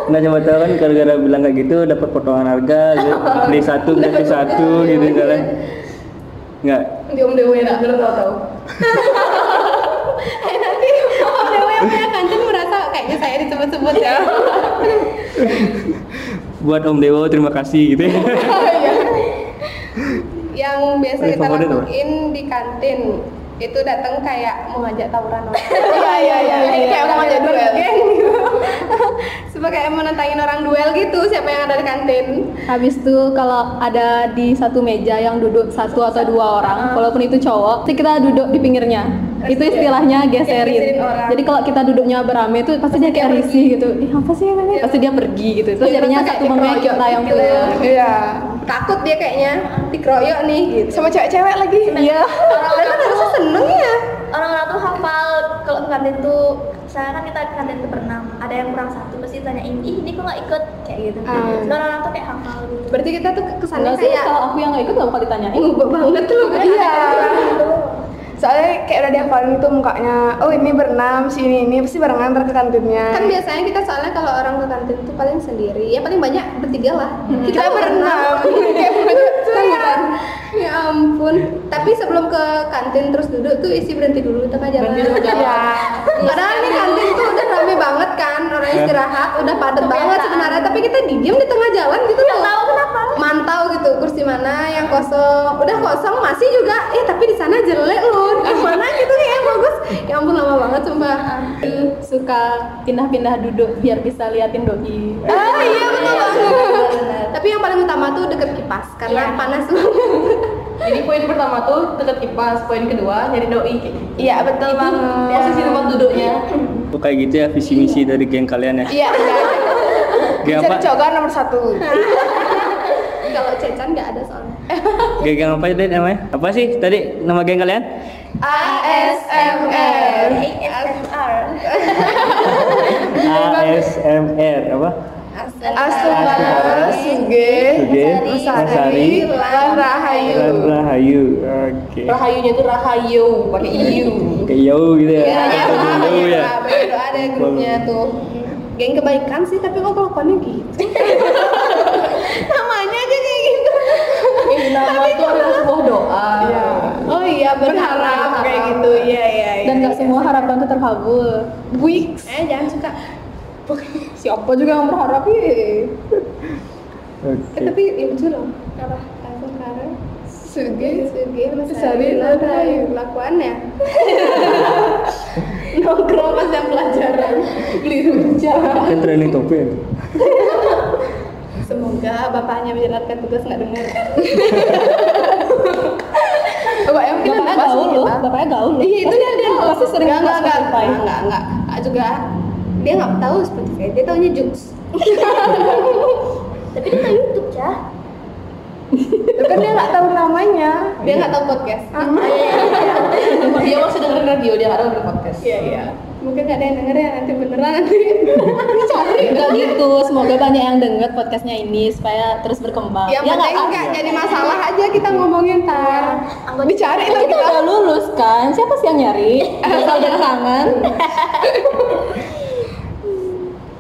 S1: Nggak coba tahu kan gara-gara bilang kayak gitu dapat potongan harga gitu. Beli satu gratis satu gitu kan. Nggak.
S5: Di Om Dewa enak dulu tau tau.
S3: ya, Eh nanti Om Dewa yang punya kantin merasa kayaknya saya disebut-sebut ya.
S1: Buat Om Dewo terima kasih gitu.
S3: Yang biasa
S1: Paling
S3: kita
S1: favorit apa?
S3: lakuin di kantin itu datang kayak mau ngajak tawuran orang.
S7: Iya iya iya. Ini kayak mau ngajak duel.
S3: Sebagai gitu. mau nantangin orang duel gitu siapa yang ada di kantin.
S2: Habis itu kalau ada di satu meja yang duduk satu atau dua orang,
S3: Ah.
S2: walaupun itu cowok, pasti kita duduk di pinggirnya. Itu istilahnya geserin.
S3: ya? geserin orang.
S2: Jadi kalau kita duduknya berame itu pasti dia kayak risih gitu. Ih, apa sih yang ini? Pasti dia pergi gitu. Terus
S3: Dia
S2: jadinya
S3: merasa
S2: satu
S3: Iya. kayak
S2: momen
S3: dikeroyok
S2: kita yang
S3: gitu.
S2: punya.
S7: Iya.
S3: Takut dia kayaknya dikeroyok nih gitu.
S7: Sama cewek-cewek lagi. Iya.
S3: Orang kan harusnya seneng ya.
S4: orang-orang tuh hafal kalau ke kantin tuh misalnya kan kita ke kantin tuh berenam ada yang kurang satu pasti tanyain ih ini kok nggak ikut kayak gitu
S3: Ah.
S4: Terus orang-orang tuh kayak hafal gitu
S3: Berarti kita tuh kesannya
S2: Enggak sih,
S3: kayak Oh,
S2: kalau aku yang nggak ikut nggak bakal ditanyain.
S3: ngubah banget loh.
S7: Iya. Soalnya kayak udah dihafalin tuh mukanya. Oh ini berenam, si ini ini pasti barengan ntar ke kantinnya.
S3: kan biasanya kita soalnya kalau orang ke kantin tuh paling sendiri ya paling banyak bertiga lah kita berenam kayak berenam ya ampun tapi sebelum ke kantin terus duduk tuh isi berhenti dulu tengah jalan
S7: Iya.
S3: padahal nih kantin tuh udah rame banget kan orang istirahat udah padat banget sebenarnya tapi kita diem di tengah jalan gitu tuh tahu kenapa mantau gitu kursi mana yang kosong udah kosong masih juga eh tapi di sana jelek loh di mana gitu kayak bagus ya ampun lama banget sumpah
S2: Aku suka pindah-pindah duduk biar bisa liatin doi.
S3: Ah iya betul banget. Tapi yang paling utama tuh deket kipas karena panas banget.
S5: Jadi poin pertama tuh deket kipas, poin kedua nyari doi kayak gitu.
S7: Iya betul banget.
S5: Biasa sih tempat duduknya.
S1: Tuh kayak gitu ya visi misi dari geng kalian ya.
S7: Iya.
S1: Geng
S7: Cari
S1: apa?
S7: cowok nomor satu.
S3: Kalau cecan nggak ada soalnya.
S1: Geng, geng apa tadi namanya? Apa sih tadi nama geng kalian?
S7: ASMR.
S4: ASMR
S3: Iya,
S1: ASMR apa?
S7: Asmara Suge
S1: Oke.
S7: Sari
S1: Masari
S7: Lan Rahayu.
S1: dan Rahayu. Oke.
S5: Rahayunya tuh rahayu, pakai iu.
S1: Kayak jauh gitu ya.
S3: Iya ya,
S1: Ketemu dulu ya.
S3: banyak doa ada grupnya tuh. Geng kebaikan sih tapi kok kelakuannya gitu. Namanya aja kayak gitu.
S5: Eh, nama itu adalah sebuah doa.
S3: Oh iya
S7: Berharap kayak gitu. Iya iya iya.
S2: Dan nggak semua harapan tuh terkabul.
S7: Wix.
S3: Eh jangan suka.
S7: Siapa juga yang berharap ya?
S3: Eh,
S1: Oke.
S3: tapi ya lucu loh. Apa? Asmara.
S7: Suge
S3: Sugi,
S7: Sari
S3: Masari,
S7: Lan
S3: Lantai,
S7: Rahayu.
S3: kelakuannya.
S7: Nongkrong pas jam pelajaran beli rujak.
S1: Kan training topik. ya?
S3: Semoga bapaknya menjalankan tugas nggak dengar.
S7: Bapak yang kita
S2: Bapaknya
S7: bahas
S2: gaul loh, bapaknya gaul loh.
S3: ya, Iya itu dia dia
S2: Pasti sering
S3: enggak
S2: buka
S3: enggak enggak
S2: Spotify.
S3: enggak enggak enggak juga dia nggak tahu Spotify dia taunya Jux
S4: tapi dia nggak YouTube ya
S7: Itu kan dia nggak tahu namanya.
S3: dia nggak tahu podcast
S2: Iya,
S5: Dia masih dengerin radio, dia nggak dengerin podcast.
S7: Iya iya.
S3: mungkin nggak ada yang denger ya nanti beneran nanti
S2: Enggak gitu, semoga banyak yang denger podcastnya ini supaya terus berkembang.
S7: Ya,
S3: yang
S2: nggak
S3: penting
S2: kan?
S3: nggak jadi masalah aja kita ngomongin tar
S4: anggota
S7: Dicari
S2: Kan
S7: lah
S2: kita
S7: kita.
S2: udah lulus kan, siapa sih yang nyari? Asal dari tangan.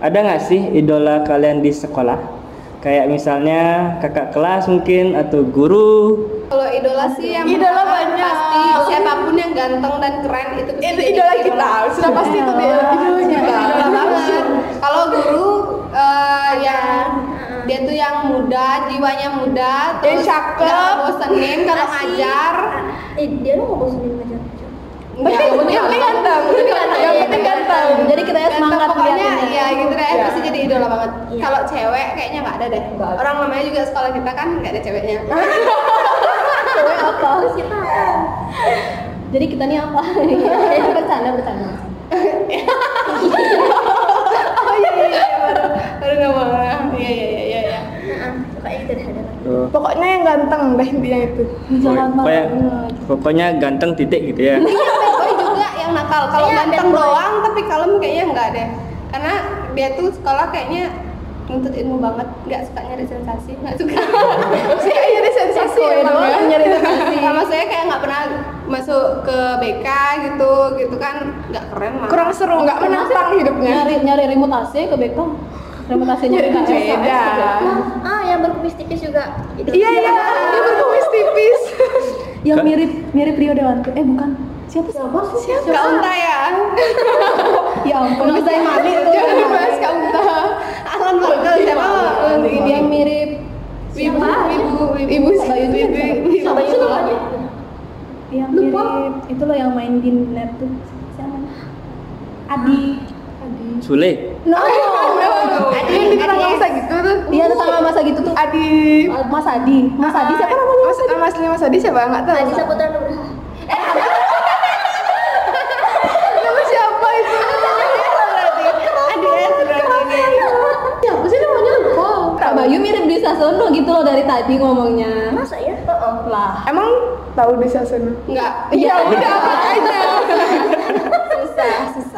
S1: Ada nggak sih idola kalian di sekolah? Kayak misalnya kakak kelas mungkin atau guru.
S3: kalau idola sih yang
S7: Idola
S3: pertama
S7: banyak.
S3: pasti siapapun yang ganteng dan keren itu pasti jadi
S7: Itu idola kita. Sudah pasti itu dia
S2: Iya,
S7: idola kita.
S3: idola banget kalau guru eh, yang dia tuh yang muda jiwanya muda
S7: Yang
S3: terus
S7: cakep.
S3: nggak bosenin kalau ngajar
S4: eh dia lu nggak bosan ngajar
S3: Nggak,
S7: Yang penting ganteng. Yang penting ganteng.
S2: Jadi kita ya semangat
S3: pokoknya
S2: liatinnya.
S3: ya gitu deh
S7: Iya.
S3: pasti jadi idola banget kalau cewek kayaknya nggak ada deh orang namanya juga sekolah kita kan nggak ada ceweknya
S2: Cewek apa?
S4: terus kita apa
S2: Jadi kita nih apa? Jadi bercanda bercanda.
S3: baru ngomong iya iya iya iya iya
S4: Nah, suka yang sederhana
S1: Tuh.
S7: Pokoknya yang ganteng deh intinya itu.
S2: Jangan
S1: Oh, Pokoknya,
S2: marah.
S1: pokoknya ganteng titik gitu ya.
S3: Iya, bad boy juga yang nakal kalau
S4: Iya,
S3: ganteng
S4: bad boy.
S3: doang tapi kalem kayaknya nggak deh karena dia tuh sekolah kayaknya nuntut ilmu banget nggak suka nyari sensasi nggak suka
S7: Saya nyari sensasi
S3: Koi
S7: emang
S3: doang
S7: ya.
S3: nyari sensasi sama saya kayak nggak pernah masuk ke BK gitu gitu kan nggak keren lah
S7: Kurang seru, nggak menantang hidupnya.
S2: nyari nyari remote AC ke Beko remote AC nyari ke Nah,
S7: Beda.
S4: ah yang berkumis tipis juga Gitu. itu
S7: Iya iya, dia berkumis tipis.
S2: yang mirip mirip Rio Dewanto eh bukan siapa siapa siapa
S3: Kak Unta ya
S2: ya ampun bisa mami
S7: Iya.
S3: jangan dibahas Kak Unta Alan Markel siapa
S2: yang mirip
S3: Wibu Wibu Wibu
S2: Bayu
S3: Wibu Wibu
S2: siapa itu namanya yang
S4: Lupa.
S2: mirip itu loh yang main di net tuh siapa Adi
S1: Sule.
S2: no
S3: Adi yang diterang masa gitu tuh
S2: dia tetangga masa gitu tuh
S7: Adi
S2: Mas Adi Mas Adi siapa namanya
S7: Mas, nama aslinya Mas Adi siapa? Nggak tahu.
S4: tadi saputra nugraha
S7: Nama siapa itu?
S3: Adi S berarti
S2: Siapa sih namanya lupa? Kak Bayu mirip Dwi Sasono gitu loh dari tadi ngomongnya.
S4: masa ya
S2: Lah.
S7: Emang tahu di sana?
S3: nggak
S2: Iya udah makanya.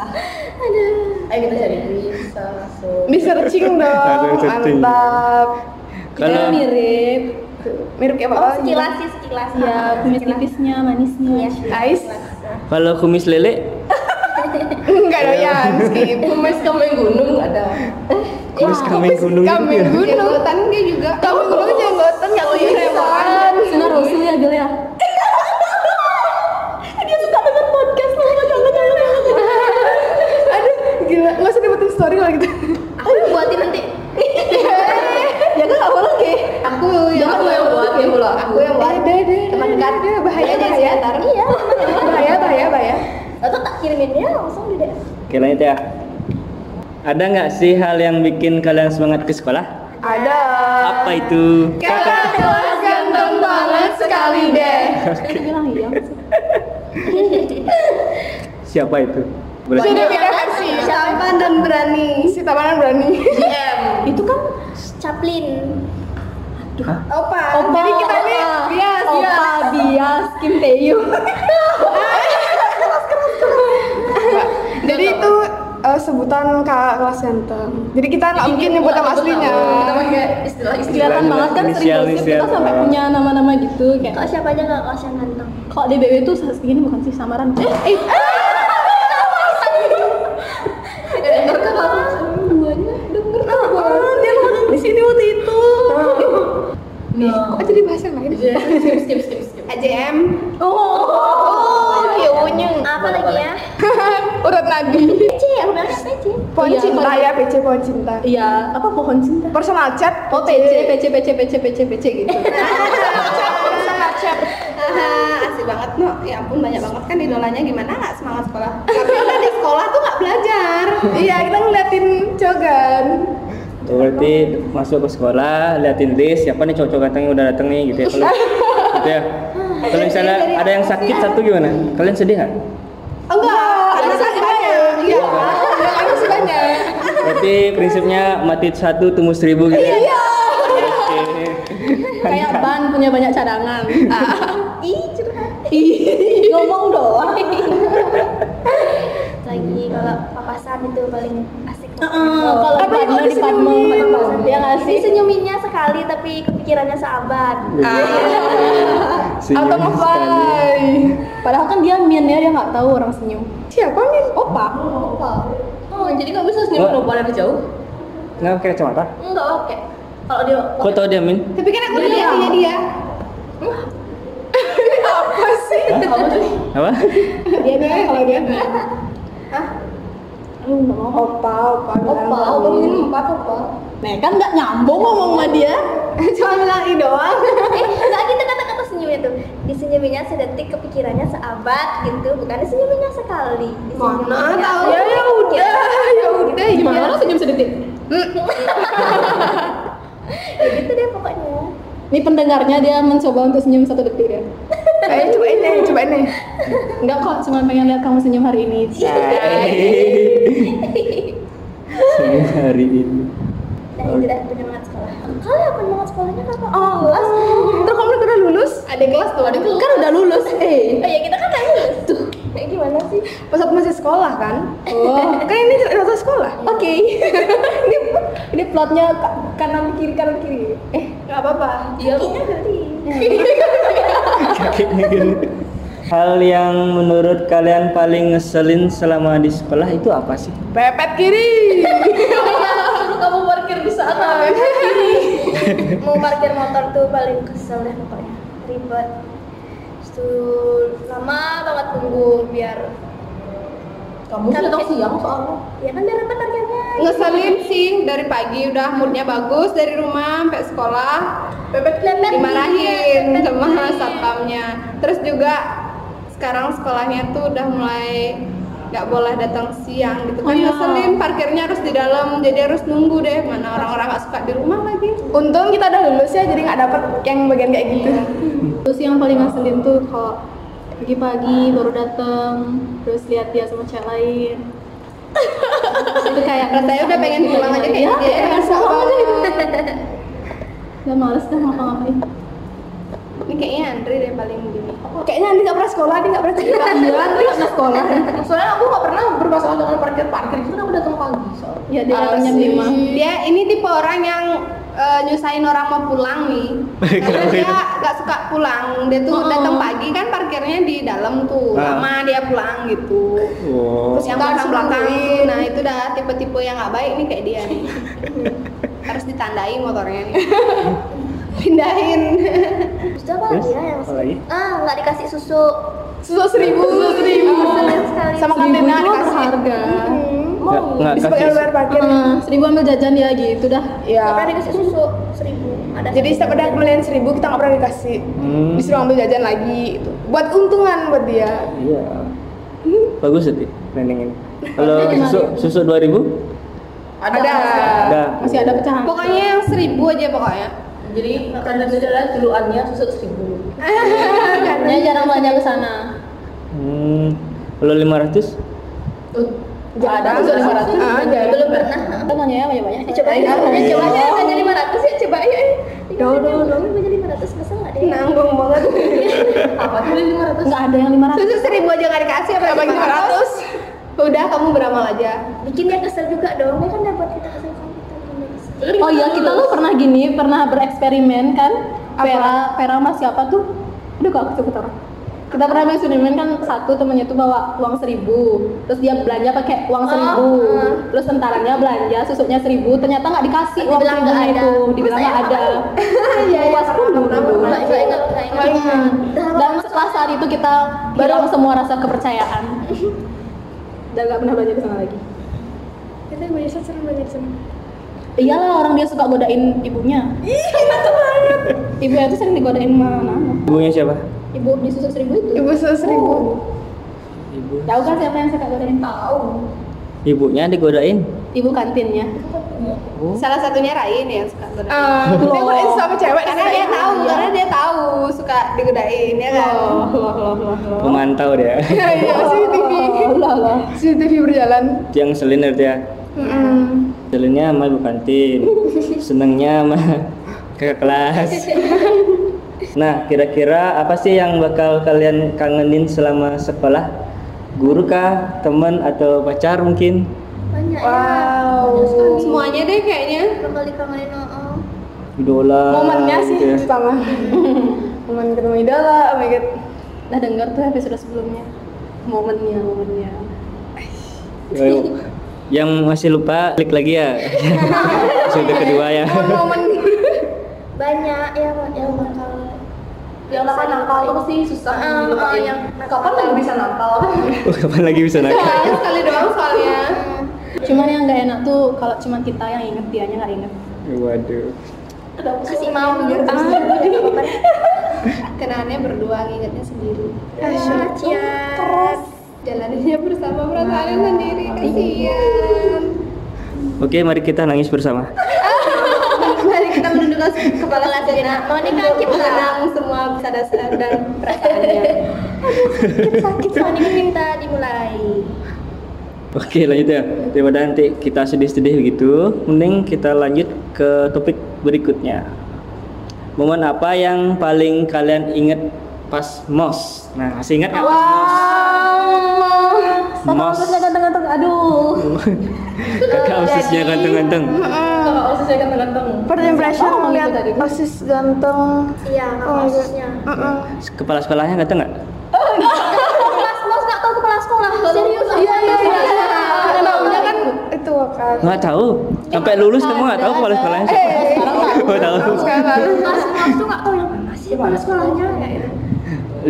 S5: Ayo kita cari bisa masuk.
S7: Di searching dong.
S1: Aduh, searching.
S7: Mantap.
S2: Dia
S1: Kalau
S2: mirip.
S7: Mirip kayak
S4: oh
S7: bapak.
S4: sekilas sih sekilas Iya.
S2: Ya kumis tipisnya, manisnya.
S7: Iya, Ais.
S1: kalau kumis lele,
S7: Enggak doyan, skip.
S5: Kumis kambing gunung ada.
S1: kumis kambing gunung
S7: Kambing
S1: itu.
S7: gunung.
S3: jenggotan dia juga
S7: Kamu dulu jenggotan nggak punya rewokan.
S2: Sunar Rasul ya Bil ya. Dia suka denger podcast loh, jangan jangan.
S7: Aduh, gila. Nggak usah dibuatin story kalau gitu.
S4: aku buatin nanti
S2: Ya kan nggak boleh ke.
S3: aku
S5: Jangan aku yang buat ya pula.
S3: aku yang buat
S7: Ada, ada,
S3: teman dekat
S7: bahaya,
S3: Ada di
S7: bahaya.
S3: sekitar.
S4: iya
S7: Bahaya, bahaya, bahaya.
S4: atau tak kiriminnya langsung di DM
S1: Kirain teh. ya. Ada nggak sih hal yang bikin kalian semangat ke sekolah?
S7: Ada.
S1: Apa itu?
S7: Kakak kelas ganteng banget sekali deh.
S2: Dia bilang iya. sih.
S1: Siapa itu? Boleh
S7: Sudah beda versi.
S3: tampan dan berani
S7: Si Tamanan berani.
S2: Itu kan
S4: Chaplin
S3: opa
S2: opa,
S3: jadi kita nih
S2: opa,
S7: Iya,
S3: bias
S2: opa bias Kim Taeyong.
S7: Jadi itu eh, sebutan kakak kelas ganteng. Jadi kita nggak mungkin nyebut nama aslinya.
S5: Nama kayak istilah-istilah.
S2: Kelihatan banget kan sering
S1: Inisial,
S2: gosip kita
S1: inisial.
S2: sampai punya nama-nama gitu kayak
S4: kok siapa aja nggak kelas yang ganteng
S2: Kalau DBW tuh seharusnya gini bukan sih samaran. Eh, eh.
S7: dia ngomong di sini waktu itu.
S5: Nih,
S7: Kok jadi bahasa yang lain?
S5: skip skip skip skip.
S7: E
S3: AJM
S2: Oh,
S4: apa lagi ya
S7: iya, Urut nadi.
S4: C aku bilang C
S7: Pohon
S2: Iya,
S7: cinta
S2: kalau-
S7: ya, PC pohon cinta.
S2: iya, apa pohon cinta?
S7: Personal chat.
S2: Oh, PC, PC, PC, PC, PC, PC gitu.
S3: Ah, asik banget no ya ampun banyak banget kan idolanya gimana nggak semangat sekolah karena di sekolah tuh nggak belajar
S7: Iya, kita ngeliatin cogan.
S1: Oh, Berarti masuk ke sekolah, liatin list siapa nih cowok-cowok ganteng yang udah dateng nih gitu ya. Kalau gitu ya. Kalau misalnya ada yang sakit satu gimana? Kalian sedih nggak?
S7: Oh, enggak, ada masih banyak. Iya, ada masih banyak.
S1: Berarti prinsipnya mati satu tumbuh seribu gitu ya. Iya.
S2: Kayak ban punya banyak cadangan.
S4: ih curhat
S2: Ih, Ngomong doang.
S4: lagi kalau papasan itu paling asik
S2: Heeh, Kalau
S7: Tapi
S2: Padma
S7: kok
S2: di Padma,
S7: disenyumin?
S2: Padma. ya nggak
S4: Jadi
S2: sih?
S4: senyuminnya sekali tapi kepikirannya sahabat
S7: Atau
S1: Iya. Senyum sekali.
S7: ngebay.
S2: Padahal kan dia min ya, dia nggak tahu orang senyum.
S7: Siapa nih? Opa.
S5: Oh, jadi nggak bisa senyum
S1: Wah.
S5: perempuan dari jauh?
S1: Nggak pakai kacamata?
S5: Enggak oke. Kalau dia
S1: Kok tau dia min?
S3: tapi kan
S2: Iya,
S3: aku
S5: Iya.
S3: lihat dia dia
S1: Apa?
S7: Dia nih kalau dia.
S2: Lu nggak mau.
S7: Opa, opa.
S5: opa, opa mungkin empat opa.
S2: Nah, kan nggak nyambung ngomong sama dia.
S7: Cuma bilang i doang.
S4: eh nggak gitu kata-kata senyumnya tuh disenyuminnya sedetik kepikirannya sahabat gitu bukan disenyuminnya sekali
S3: mana
S4: Disenyuminnya-
S3: tahu
S7: Ya ya udah, ya udah.
S5: Eh,
S2: Gimana orang senyum sedetik?
S4: ya gitu deh pokoknya
S2: Ini pendengarnya dia mencoba untuk senyum satu detik ya.
S7: Ayo cobain deh, cobain deh.
S2: Enggak kok, cuma pengen lihat kamu senyum hari ini.
S5: Iya,
S1: Senyum hari ini.
S4: dan itu dah penyemangat sekolah kali apa penyemangat sekolahnya kenapa oh kelas
S7: Terus kamu udah lulus?
S4: ada kelas tuh ada kelas
S2: Kan udah lulus, eh.
S4: oh ya kita kan lagi tuh kayak gimana sih
S7: Pas aku masih sekolah kan?
S2: Oh.
S7: Kan ini rasa sekolah.
S2: Oke. Ini plotnya ka- kanan kiri kanan kiri. Eh,
S3: nggak apa-apa
S5: Iya,
S1: Kakinya gini. Hal yang menurut kalian paling ngeselin selama di sekolah itu apa sih?
S7: Pepet kiri.
S5: suruh kamu parkir di sana.
S4: Oh, mau parkir motor tuh paling kesel deh pokoknya ribet Terus tuh lama banget nunggu biar
S5: Kamu sudah tahu siang soalnya.
S4: ya kan biar dapat parkirnya
S3: ngeselin sih dari pagi udah moodnya bagus dari rumah sampai sekolah dimarahin sama satpamnya terus juga sekarang sekolahnya tuh udah mulai nggak boleh datang siang gitu kan ngeselin parkirnya harus di dalam jadi harus nunggu deh mana orang-orang nggak suka di rumah lagi
S7: Untung kita udah lulus ya, jadi nggak dapet yang bagian kayak gitu.
S2: terus yang paling ngeselin tuh kalau pagi-pagi baru dateng terus lihat dia sama cewek lain. itu kayak
S3: rasanya udah pengen pulang aja kayak
S2: ya,
S3: dia
S2: kayak pengen pulang aja gitu. Udah males dah ngapa-ngapain.
S3: ini kayaknya Andre deh paling gini
S7: Kayaknya Andi nggak pernah sekolah, Andi nggak pernah cerita.
S2: Iya, terus ke sekolah.
S5: Soalnya aku nggak pernah bermasalah dengan parkir parkir itu kenapa datang pagi soalnya.
S2: Ya, dia datang jam lima.
S3: Ah, dia ini tipe orang yang eh, nyusahin orang mau pulang nih karena dia nggak suka pulang dia tuh datang pagi kan parkirnya di dalam tuh
S1: Ah.
S3: lama dia pulang gitu
S1: Oh.
S3: terus yang belakang belakang nah itu dah tipe-tipe yang nggak baik nih kayak dia nih harus ditandai motornya nih pindahin
S4: Sudah apa lagi ya yang
S1: Apa lagi?
S4: ah nggak dikasih susu
S7: Susu seribu, susu seribu.
S2: Ah.
S4: Keselin sekali Hmm.
S7: Sama
S2: Seribu
S7: kantinnya
S2: itu
S7: dikasih.
S2: berharga.
S1: Nggak, nggak
S7: Bisa pakai
S1: kasih.
S7: bayar parkir.
S2: Heeh, seribu ambil jajan ya gitu dah.
S7: Iya.
S4: nggak pernah dikasih susu seribu ada
S7: Jadi setiap ada kembalian seribu kita nggak pernah dikasih.
S1: Hmm.
S7: Disuruh ambil jajan lagi. Itu. Buat untungan buat dia.
S1: Iya. Bagus sih nenengin. Kalau susu susu 2000?
S7: Ada.
S1: Ada.
S2: Masih ada pecahan.
S3: pokoknya yang seribu aja pokoknya
S5: Jadi karena itu adalah julukannya susu seribu.
S2: Pokoknya jarang belanja ke sana.
S1: Hmm. Kalau 500?
S5: Gak ada susu lima ratus.
S7: Ada.
S4: belum pernah
S2: Ah, Kita nanya ya banyak-banyak. iya.
S4: Eh, coba ya,
S7: Ayo.
S4: coba aja hanya lima ratus ya, Nah, coba aja.
S2: Dong, dong, dong.
S4: iya. Hanya lima ratus kesel nggak ya? deh?
S3: nanggung banget
S5: Apa tuh lima ratus?
S2: Enggak ada yang 500.
S3: susu seribu aja nggak dikasih apa lima ratus udah kamu beramal aja
S4: Bikin dia kesel juga dong, dia kan dapat kita kesel kan kita bikin dia kesel.
S2: Oh iya, kita tuh pernah gini, pernah bereksperimen kan?
S7: Apa?
S2: Pera, pera sama siapa tuh? Aduh, kok aku ketor. Kita pernah bereksperimen kan satu temennya tuh bawa uang seribu, terus dia belanja pakai uang seribu, terus tentaranya belanja susunya seribu, ternyata nggak dikasih uang
S4: Dibilang
S2: seribu
S4: nggak ada.
S2: itu, dibilang nggak ada. Iya, iya,
S4: Nggak nggak ingat, nggak ingat. Dah,
S2: Dan setelah saat itu kita baru semua rasa kepercayaan. Dan nggak pernah belanja ke sana lagi.
S3: kita bisa serem banget serem
S2: Iyalah orang dia suka godain ibunya. Iya, banget. Ibunya tuh sering digodain mana?
S1: Ibunya siapa?
S2: Ibu disusuk seribu itu.
S7: Ibu susu seribu.
S1: Ibu.
S2: Tahu kan siapa yang suka godain? Tahu.
S1: Ibunya digodain.
S2: Ibu kantinnya.
S3: salah satunya Rai nih yang suka godain.
S7: Eh,
S2: Loh.
S7: Dia kok sama cewek
S3: karena dia tahu karena dia tahu suka digodain ya kan
S2: Loh, loh, loh, loh, loh.
S1: Pemantau dia.
S7: Iya, iya, CCTV.
S2: Loh, loh, loh.
S7: CCTV berjalan.
S1: Yang selin itu ya. Selinnya sama ibu kantin. Senengnya sama kakak kelas. Nah, kira-kira apa sih yang bakal kalian kangenin selama sekolah? Guru kah, teman atau pacar mungkin?
S4: Banyak
S7: Wow.
S3: semuanya deh kayaknya
S4: ya. Bakal dikangenin oh.
S1: Idola.
S7: Momennya sih
S1: gitu ya.
S7: pertama. Momen ketemu idola, oh my god.
S2: Nah, dengar tuh episode sebelumnya. Momennya, momennya.
S1: Yang- Yang masih lupa klik lagi ya. Episode kedua ya.
S4: Banyak yang yang bakal
S5: Yang nakal nakal tuh
S2: Oh,
S5: pasti susah
S4: Ah, ah,
S5: dilupain.
S4: yang nakal.
S5: Kapan lagi bisa nakal?
S1: Oh, Kapan lagi bisa nakal?
S3: hanya sekali doang soalnya
S2: Cuman yang nggak enak tuh kalau cuma kita yang inget, dianya nggak inget.
S1: Waduh.
S4: kasih mau gitu.
S3: kenangannya berdua ngingetnya sendiri
S4: Ah, Kasihan.
S3: jalaninnya bersama perasaannya sendiri kasihan
S1: Oke, mari kita nangis bersama.
S3: mari kita menundukkan kepala sejenak
S4: Monika
S3: kita
S4: kita
S3: tenang semua sadar dan perasaannya
S4: sakit Monika minta dimulai.
S1: Oke lanjut ya daripada nanti kita sedih-sedih begitu mending kita lanjut ke topik berikutnya momen apa yang paling kalian inget pas mos nah masih ingat nggak pas mos mos
S2: Ganteng-ganteng, aduh.
S1: kakak ususnya ganteng-ganteng
S4: Mm,
S2: kakak osis yang ganteng-ganteng
S7: First impression
S2: Oh,
S7: ngeliat
S2: gitu tadi.
S7: osis ganteng.
S4: Iya,
S7: Oh,
S4: kakak osisnya.
S7: Mm-mm.
S1: Kepala sekolahnya ganteng nggak?
S4: Kelas kelas nggak tahu kepala sekolah. Serius?
S7: Iya iya iya. Karena Taunya kan itu kan.
S1: Nggak tahu. Sampai lulus kamu nggak tahu kepala sekolahnya siapa? Nggak tahu.
S4: Kelas kelas tuh nggak tahu
S7: Iya.
S4: yang mana sih kepala sekolahnya. Kayak gitu.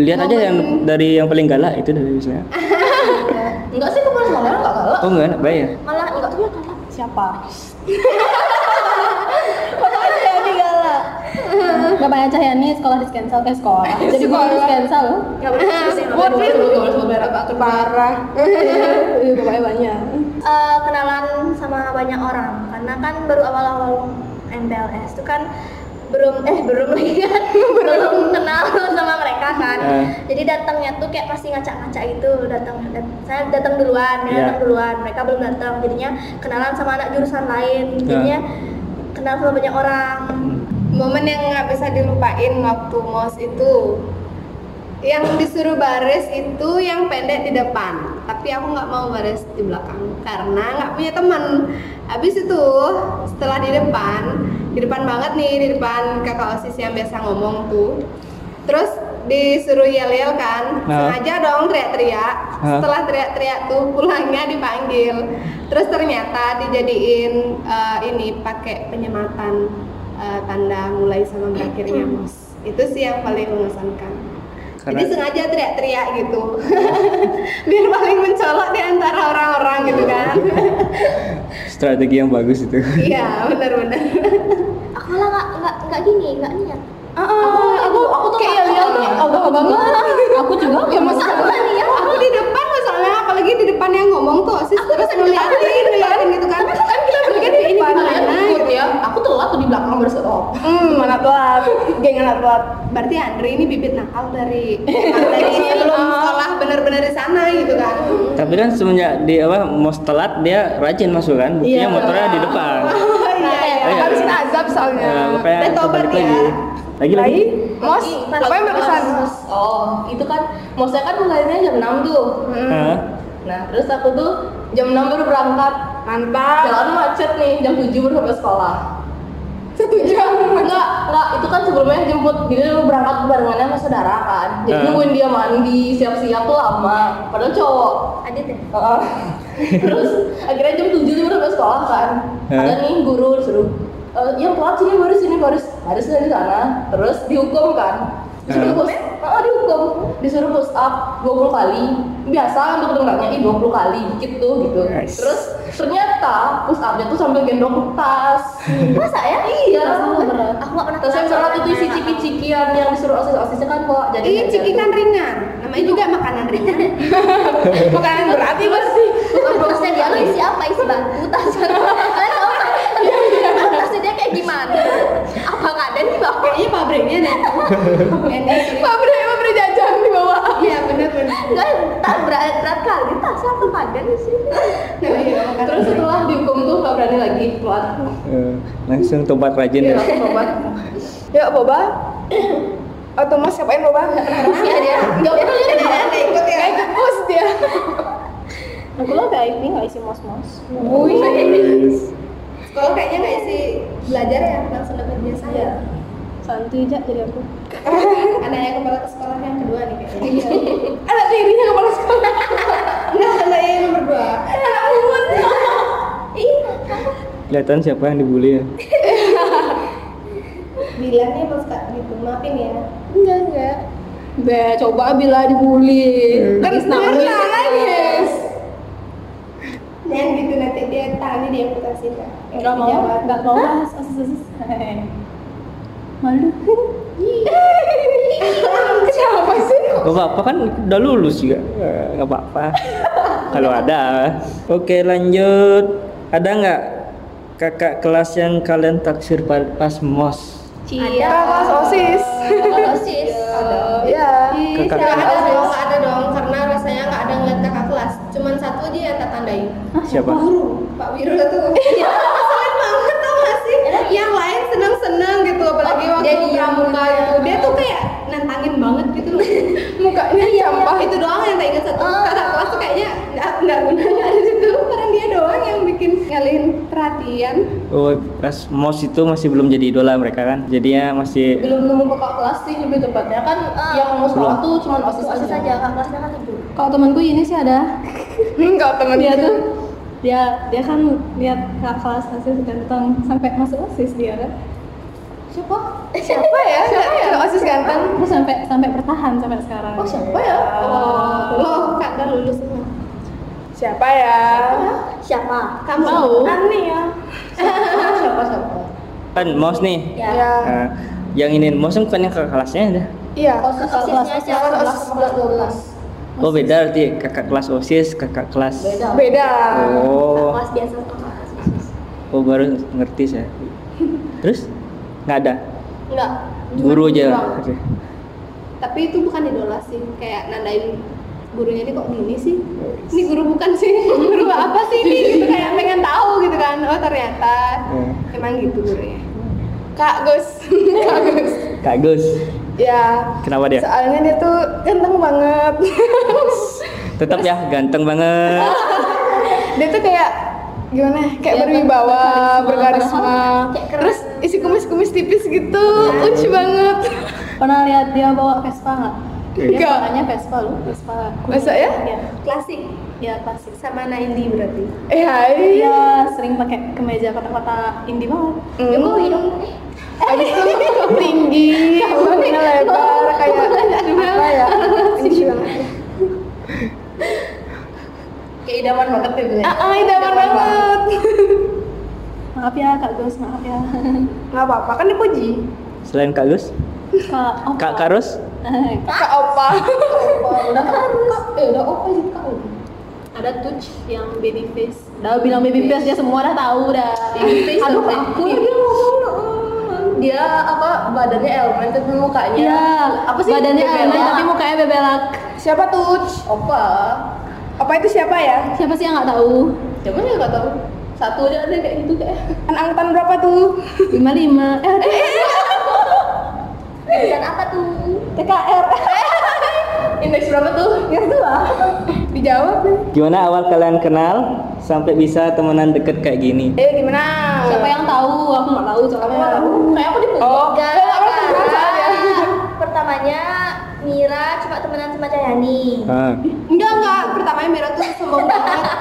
S1: Lihat aja yang dari yang paling galak itu dari misalnya.
S2: enggak sih kepala sekolah enggak galak
S1: Oh nggak, baik ya.
S4: Malah nggak tahu yang galak.
S8: Siapa?
S4: Jadi galak.
S8: Bapaknya Cahyani sekolah di cancel eh sekolah. Jadi guru di cancel.
S4: Nggak boleh sih.
S2: buat dia dulu kalau sebut merah Pak.
S7: Parah.
S8: Iya, bapaknya banyak.
S4: Eh, kenalan sama banyak orang karena kan baru awal-awal MPLS itu kan belum eh belum lagi kan belum kenal sama mereka kan
S1: Eh.
S4: jadi datangnya tuh kayak pasti ngacak-ngacak gitu datang dat- saya datang duluan dia
S1: Iya.
S4: datang duluan mereka belum datang jadinya kenalan sama anak jurusan
S1: Iya.
S4: lain jadinya kenal sama banyak orang
S1: Hmm.
S3: momen yang nggak bisa dilupain waktu mos itu yang disuruh baris itu yang pendek di depan tapi aku nggak mau baris di belakang karena nggak punya teman habis itu setelah di depan di depan banget nih di depan kakak osis yang biasa ngomong tuh terus disuruh yel-yel kan
S1: Nah.
S3: sengaja dong teriak-teriak
S1: Hah?
S3: setelah teriak-teriak tuh pulangnya dipanggil terus ternyata dijadiin eh, ini pakai penyematan eh, tanda mulai sama berakhirnya mos itu sih yang paling mengesankan jadi
S1: Karena
S3: sengaja teriak-teriak gitu biar paling mencolok di antara orang-orang gitu kan
S1: strategi yang bagus itu.
S3: iya benar-benar
S4: aku malah nggak nggak nggak gini nggak niat
S3: Ah, aku aku, tuh ya. kayak yel-yel tuh agak banget
S8: Aku juga
S3: iya, ya masalah nih ya aku di depan masalahnya apalagi di depan yang ngomong tuh sis terus
S7: Iya,
S3: ngeliatin ngeliatin gitu kan kan kita bertiga di depan
S2: kalian
S3: mana Iya.
S2: ikut ya aku telat tuh di belakang berserok
S7: Hmm, mana telat. Geng anak telat.
S3: berarti Andre ini bibit nakal dari dari sebelum
S7: Oh.
S3: sekolah benar-benar di sana gitu kan
S1: Tapi kan semenjak di apa mau telat dia rajin masuk kan. Buktinya motornya di depan.
S3: Iya. oh iya
S1: Iya.
S3: iya
S7: Habis azab soalnya.
S1: Ya, makanya
S3: Dan tobat
S1: balik
S3: ya.
S1: lagi. Lagi lagi.
S7: Lagi mos. Apa yang berkesan?
S2: oh itu kan mosnya kan mulainya jam 6 tuh
S1: Hah?
S3: Hmm.
S2: nah terus aku tuh jam 6 baru berangkat
S7: Mantap.
S2: jalan macet nih jam 7 baru sampai sekolah satu jam enggak enggak itu kan sebelumnya jemput jadi lu berangkat barengannya sama saudara kan jadi
S1: Eh.
S2: nungguin dia mandi siap-siap tuh lama padahal cowok
S4: adit ya
S2: Heeh. terus akhirnya jam 7 dia baru sampai sekolah kan
S1: Eh.
S2: ada nih guru suruh "Eh, yang telat sini baru sini baris baris dari sana terus dihukum kan disuruh
S1: Eh.
S2: push oh, dihukum disuruh push up 20 kali biasa untuk dengarnya ih 20 kali dikit tuh gitu
S1: Nice.
S2: terus ternyata push upnya tuh sambil gendong tas
S4: masa ya
S2: iya
S4: aku nggak pernah
S2: tasnya berat
S4: kenal sama
S2: itu isi
S4: anak-anak.
S2: ciki-cikian yang disuruh osis-osisnya kan kok jadi
S3: Ih, cikikan ringan namanya juga makanan ringan
S7: Makanan berat ya pasti.
S4: tasnya dia lu isi apa isi batu tasnya kalian tahu nggak? tasnya dia kayak gimana apa nggak ada di bawah
S3: kayaknya pabriknya deh
S7: Pabrik pabrik jajan di bawah.
S3: iya benar-benar
S4: nggak tak berat berat kali tasnya apa nggak ada di sini
S2: terus setelah dihukum tuh nggak berani lagi keluar
S1: Eh, langsung tobat rajin ya.
S2: Iya, tobat.
S7: Yuk Ya, boba. Atau mas ngapain boba?
S4: iya dia
S2: Nggak pernah jadi
S3: Iya, dia ikut ya
S7: Kayak kepus dia.
S8: Aku lo gak ini gak isi mos-mos.
S3: sekolah kayaknya nggak isi belajar ya langsung dapat biasa ya
S8: Santuy aja jadi aku.
S3: anaknya kepala ke sekolah yang kedua nih kayaknya
S4: Iya.
S7: Anak tirinya kepala sekolah.
S3: Enggak, anaknya yang nomor dua
S4: Iya.
S1: Kelihatan siapa yang dibully ya.
S3: bilangnya pas kak gitu maafin ya
S8: Enggak, enggak. Be, coba bila dibully.
S7: Kan nangis. Nangis.
S3: dan gitu nanti dia tangannya diamputasi kak
S8: Enggak mau, enggak mau mas, osis osis. Hehehe. Malu.
S7: Siapa sih?
S1: Gak apa-apa kan udah lulus juga. Eh, Gak apa-apa. Kalau ada. Oke lanjut. Ada nggak kakak kelas yang kalian taksir pa- pas mos?
S4: Cia.
S3: Iya.
S7: Kakak sosis.
S4: Kalau sis
S7: Ya.
S1: Kakak
S3: Nggak Iya,
S1: kelas
S3: ada dong, nggak ada dong, karena rasanya nggak ada ngeliat kakak kelas. Cuman satu aja yang tak tandain.
S1: siapa?
S3: Pak Wiro tuh. Iya. Kasian banget tau nggak sih? Yang lain seneng-seneng gitu, apalagi
S4: Oh,
S3: waktu
S4: dia diem.
S3: pramuka itu. Dia tuh kayak nantangin banget gitu loh.
S7: Mukanya
S3: Wah
S7: sampah.
S3: itu doang yang tak ingat satu. Kakak kelas tuh kayaknya nggak nggak guna nggak ada situ. Karena dia doang yang bikin ngalihin perhatian.
S1: Oh, pas mos itu masih belum jadi idola mereka kan. Jadinya masih
S5: belum nemu kakak kelas sih lebih tepatnya kan
S2: eh,
S4: Ah.
S5: yang mau sekolah tuh cuma osis aja
S4: Osis saja, kakak kelasnya kan libur.
S2: Kalau temanku ini sih ada.
S3: Enggak temen
S2: Dia tuh dia dia kan lihat kakak kelas asis ganteng sampai masuk osis dia kan.
S5: siapa
S4: Eh,
S3: siapa ya? Siapa ya? Osis ganteng.
S2: Terus sampai sampai bertahan sampai sekarang.
S5: oh siapa ya oh,
S3: Oh, Kak Dar lulus semua.
S7: Siapa ya?
S4: Siapa?
S3: Kamu
S5: Tahu.
S3: Aneh ya.
S5: siapa siapa
S1: kan mos nih.
S4: Ya.
S3: Ya.
S1: Nah, yang ini mos bukan yang kakak kelasnya ada.
S3: Iya.
S4: Oh,
S5: osis kakak kelas
S4: Osisnya siapa?
S5: sebelas sebelas dua belas
S1: Oh beda berarti kakak kelas osis, kakak kelas.
S5: beda
S3: Beda.
S1: Oh,
S4: Kelas biasa sama kelas osis.
S1: oh baru ngerti saya. Terus nggak ada,
S5: enggak
S1: guru aja.
S5: Doang.
S1: Oke.
S2: Tapi itu bukan idola sih, kayak nandain gurunya ini kok gini sih? Ini guru bukan sih? Guru apa sih ini?
S3: Gitu kayak pengen tahu gitu kan. Oh, ternyata
S1: Eh,
S3: emang gitu gurunya. Kak Gus. Kak Gus.
S1: Eh, Kak Gus,
S7: Ya.
S1: kenapa dia?
S7: Soalnya dia tuh ganteng banget.
S1: Tetap ya ganteng banget.
S7: dia tuh kayak gimana? ya,
S3: Iya,
S7: Kayak
S5: Dia
S7: berwibawa,
S5: berkarisma,
S7: berkarisma.
S4: kayak keren.
S7: Terus isi kumis-kumis tipis gitu,
S3: Iya.
S7: lucu banget.
S2: Pernah lihat dia bawa Vespa nggak? Dia
S7: Nggak.
S2: suaranya Vespa loh, Vespa.
S7: Masa ya?
S2: Iya,
S4: Klasik
S2: ya klasik.
S4: sama Naindi berarti.
S7: Eh, hai.
S2: Dia sering pakai kemeja kotak-kotak indie banget.
S4: Ya kok hidung eh,
S7: Habis itu tinggi, mulutnya lebar kayak apa ya? Tinggi banget.
S5: kayak idaman banget ya Bu.
S7: Ah, ah, idaman banget.
S2: Maaf ya Kak Gus, maaf ya.
S7: Enggak apa-apa, kan dipuji.
S1: Selain Kak Gus,
S2: Kak Opa.
S1: Kak Karus,
S7: Kak Opa.
S5: Wah, udah kan Kak, eh udah opa sih kak
S2: Ada touch yang baby face. Udah bilang baby face dia semua dah tahu dah.
S5: Face
S2: Aduh,
S5: sampai-
S2: aku
S5: Iya,
S2: lagi
S5: dia ngomong "Mm." dia apa badannya elemen tapi mukanya
S2: Iya,
S5: apa sih
S2: badannya
S5: Bebelak.
S2: aneh tapi mukanya bebelak.
S7: Siapa tuh?
S5: opa
S7: Opa itu siapa ya?
S2: Siapa sih yang nggak tahu?
S5: siapa sih nggak tahu satu aja ada kayak gitu kayak
S7: Kan angkatan berapa tuh?
S2: Lima lima. Eh, aduh.
S4: Eh, dan apa tuh?
S7: TKR.
S5: indeks berapa tuh
S7: Yang tua. Dijawab.
S1: gimana awal kalian kenal sampai bisa temenan deket kayak gini?
S7: Eh, gimana?
S2: Siapa yang tahu? Aku nggak tahu soalnya.
S5: nggak tahu kayak aku dipukul
S7: Oh,
S4: Enggak,
S7: enggak pernah kenal soalnya.
S4: Pertamanya Mira cuma temenan sama Cayani.
S1: Ah,
S3: Enggak, enggak. Pertamanya Mira tuh sombong banget.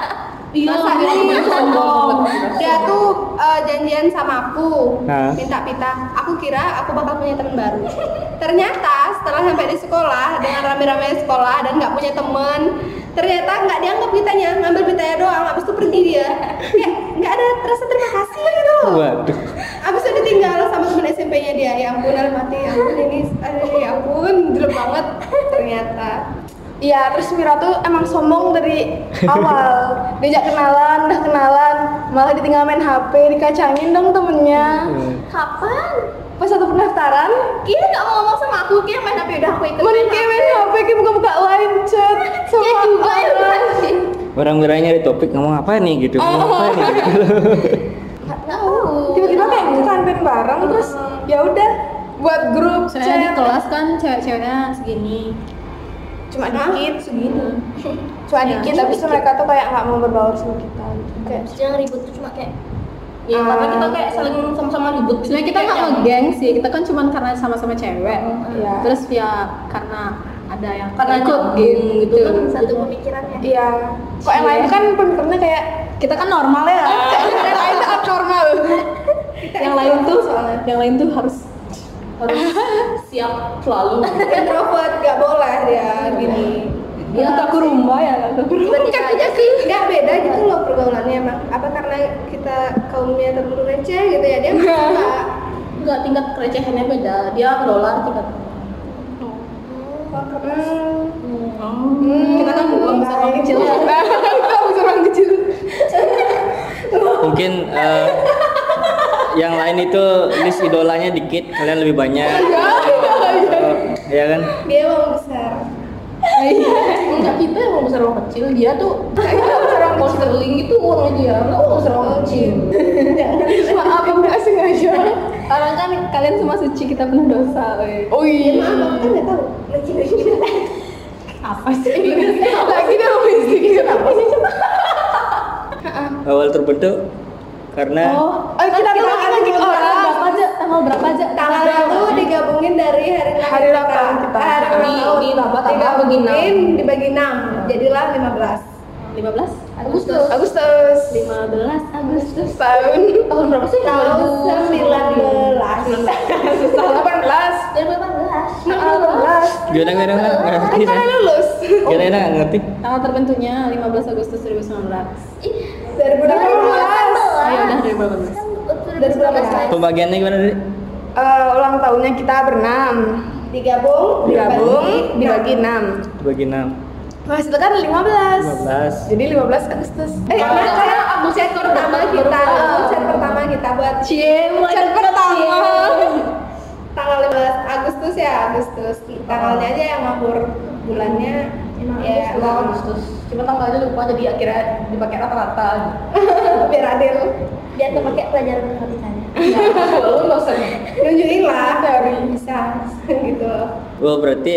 S2: Iya,
S3: Masa
S2: bilang
S3: sih?
S2: aku sombong.
S3: Dia tuh eh, janjian sama aku,
S1: Hah?
S3: minta pita. Aku kira aku bakal punya teman baru. Ternyata setelah sampai di sekolah dengan rame-rame sekolah dan nggak punya teman, ternyata nggak dianggap pitanya, ngambil pitanya doang. Abis itu pergi dia. Kayak nggak ada rasa terima kasih gitu loh.
S1: waduh.
S3: Abis itu ditinggal sama temen SMP-nya dia. Ya ampun, alam mati. Ya ampun, ini, aduh, ya ampun, jelek banget. Ternyata.
S7: Iya, terus Mira tuh emang sombong dari awal. Diajak kenalan, udah kenalan, malah ditinggal main HP, dikacangin dong temennya.
S4: Kapan?
S7: Pas satu pendaftaran,
S4: Kia nggak mau ngomong sama aku, Kia main HP udah aku ikut.
S7: mereka main HP, kayak buka-buka line chat sama
S4: Iya juga ya
S7: orang.
S4: sih.
S1: Orang-orang nyari Eh, topik ngomong apa nih gitu, ngomong apa nih gitu.
S4: Nggak tahu.
S7: Tiba-tiba kayak ke kantin bareng, terus ya udah buat grup
S2: Soalnya di
S7: chat.
S2: kelas kan cewek-ceweknya segini.
S7: Cuma dikit,
S2: Segini.
S7: cuma
S3: Iya.
S7: dikit, tapi terus mereka tuh kayak nggak mau berbaur sama kita. gitu. Kayak
S4: Terus yang ribut tuh cuma kayak
S5: ya karena
S7: Ah.
S5: kita kayak saling sama-sama ribut gitu.
S2: Sebenarnya kita nggak
S5: Kayak Oh,
S2: ngegeng sih, kita kan cuma karena sama-sama cewek.
S7: Iya.
S2: Terus ya karena ada yang
S5: Karena
S2: ikut
S5: nyambung
S2: game gitu.
S4: itu kan satu pemikirannya.
S7: Iya. Kok yang
S3: Iya.
S7: lain kan pemikirannya kayak
S2: Kita kan normal ya.
S7: yang lain tuh abnormal.
S2: yang lain tuh, yang lain tuh harus Iya.
S5: harus siap selalu
S3: introvert nggak boleh dia
S7: Iya.
S3: gini
S2: ya, aku rumba ya aku.
S3: bukan aja sih nggak beda gitu loh pergaulannya emang apa karena kita kaumnya terlalu receh gitu ya dia
S7: Iya.
S3: nggak
S5: nggak tingkat kerecehannya beda dia dolar tingkat
S7: Hmm.
S2: Kita
S5: Hmm.
S2: kan belum bisa orang kecil.
S5: Iya.
S7: Kita bisa orang kecil.
S1: Mungkin eh, yang lain itu list idolanya dikit, kalian lebih banyak. Oh, Iya kan?
S3: dia emang besar
S2: Iya.
S5: enggak kita emang besar orang kecil dia tuh orang konseling gitu uangnya dia enggak uang besar orang kecil
S7: Maaf, aku nggak sengaja.
S2: Orang kan kalian semua suci, kita penuh dosa. weh. Ya,
S7: Oh iya.
S3: maaf aku kan nggak tahu lucu lucu
S2: Apa sih?
S7: Lagi deh, Miss.
S1: Awal terbentuk karena
S2: Oh,
S7: Eh, kita tuh lagi
S2: tanggal
S7: orang.
S2: berapa aja? Tanggal berapa aja?
S3: Tanggal itu digabungin dari hari ulang tahun
S7: Hari ulang
S3: kita.
S7: tahun kita.
S3: Hari ulang
S5: Di-
S3: tahun.
S5: ditambah tanggal
S3: Digabungin dibagi 6. Jadilah 15.
S2: 15
S3: Agustus. Agustus.
S2: 15 Agustus.
S3: Tahun
S2: Tahun berapa sih?
S3: tahun
S2: Ah,
S3: 19. 18.
S4: 2018
S1: gimana gimana gimana nggak ngerti
S3: Kan
S1: saya
S3: lulus.
S1: gimana enak nggak ngerti
S2: Tanggal terbentuknya 15 Agustus 2019.
S4: Ih,
S3: 2018.
S5: Ah.
S4: 2018.
S2: Ayo Iya, udah 2018.
S4: Kan 2019 lagi.
S1: pembagiannya gimana Dri?
S7: Eh, ulang tahunnya kita berenam
S3: Digabung,
S7: digabung dibagi enam
S1: bagi enam
S3: Menghasilkan
S1: kan lima
S3: 15.
S1: belas
S7: jadi 15 Agustus
S3: Eh,
S2: Agustus
S3: karena
S2: ya, Agustus
S3: chat
S2: baru
S3: pertama
S2: baru
S3: kita, Oh,
S2: baru.
S3: chat pertama kita buat
S2: Cie, mulai
S3: chat pertama.
S2: Iya.
S3: Tanggal 15 Agustus ya, Agustus. Tanggalnya aja yang ngabur bulannya.
S2: Iya,
S3: Ya, Agustus.
S5: Cuma tanggalnya lupa jadi akhirnya dipakai rata-rata.
S3: Biar adil.
S4: Biar kepake pelajaran matematikanya.
S2: Iya,
S5: Lalu dosen.
S3: Nunjukin lah dari bisa gitu.
S1: oh berarti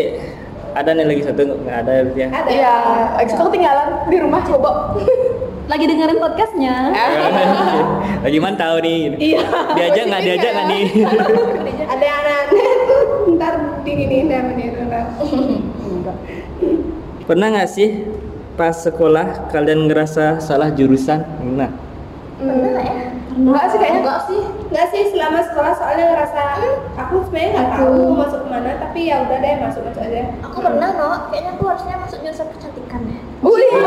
S1: ada nih lagi satu nggak ada berarti ya
S3: Ada.
S7: iya ekskul ketinggalan di rumah coba
S2: Lagi dengerin podcastnya.
S1: lagi mantau nih iya diajak nggak diajak nggak nih
S3: Ada anak-anak itu ntar diginiin sama dia orang.
S1: pernah nggak sih pas sekolah kalian ngerasa salah jurusan nah
S4: Pernah nggak ya?
S7: enggak sih kayaknya
S5: Enggak sih.
S3: Enggak sih selama sekolah soalnya ngerasa aku sebenarnya nggak tahu mau masuk kemana tapi ya udah deh masuk masuk aja.
S4: Aku pernah kok. Kayaknya aku harusnya masuk jurusan kecantikan Iya. ya.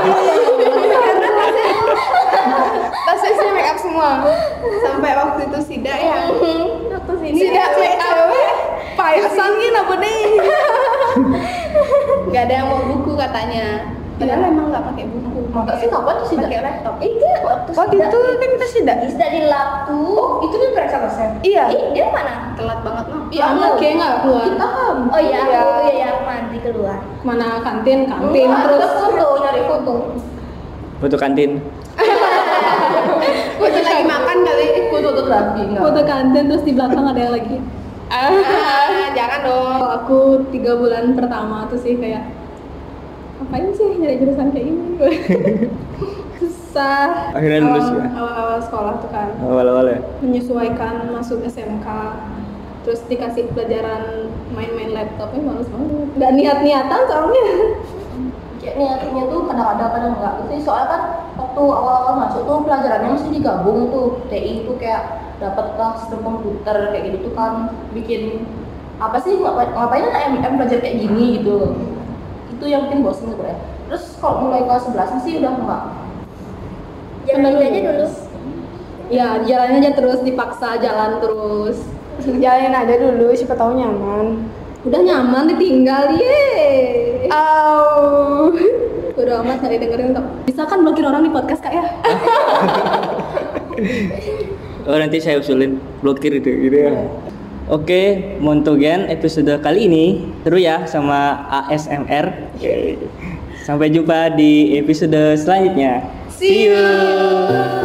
S7: tasnya sih make up semua
S3: Sampai waktu itu sida ya.
S4: Iya. Aku sini.
S3: Sida make up.
S7: payasan gini apa nih
S3: Nggak ada yang mau buku katanya. Ah, Padahal emang nggak pakai buku.
S5: Enggak sih kapan sih?
S3: Pakai laptop.
S4: Itu Iya, waktu
S7: waktu
S4: sudah-
S7: itu kan kita sida
S4: Isda di laptu.
S5: Itu kan periksa dosen.
S7: iya
S4: Ih, dia mana?
S3: Telat banget mah.
S2: Iya, enggak kayak enggak keluar.
S5: Kita kan.
S4: Oh iya,
S7: Iya.
S4: aku iya ya, aku mandi keluar.
S2: Mana kantin, kantin
S5: Enggak,
S2: terus.
S5: kita foto, nyari foto.
S1: foto kantin
S3: Aku lagi makan kali.
S5: Foto fotografi enggak.
S2: Foto kantin terus di belakang ada yang lagi.
S3: Ah, jangan dong.
S2: Kalau aku tiga bulan pertama tuh sih kayak ngapain sih nyari jurusan kayak ini susah
S1: Akhirnya
S3: Oh.
S1: lulus
S2: Awal-
S1: ya?
S2: awal-awal sekolah tuh kan
S1: awal-awal ya
S2: menyesuaikan masuk SMK terus dikasih pelajaran main-main laptopnya males banget nggak niat-niatan soalnya
S5: Kayak niatnya tuh kadang ada kadang enggak gitu sih soalnya kan waktu awal-awal masuk tuh pelajarannya mesti digabung tuh TI itu kayak dapat kelas sistem komputer kayak gitu tuh kan bikin apa sih ngapain, ngapain anak MM belajar kayak gini gitu itu yang bikin bosen gitu ya terus kalau mulai kelas 11 sih udah enggak
S2: Bener.
S4: Jangan Isda aja dulu.
S2: ya jalan aja terus dipaksa jalan terus
S7: jalanin aja dulu siapa tahu nyaman
S2: udah nyaman ditinggal ye
S7: Au.
S2: udah amat nyari dengerin kok bisa kan blokir orang di podcast kak ya
S1: Oh nanti saya usulin blokir itu gitu ya. Oke, Montogen episode kali ini seru ya sama ASMR. Sampai jumpa di episode selanjutnya. See you.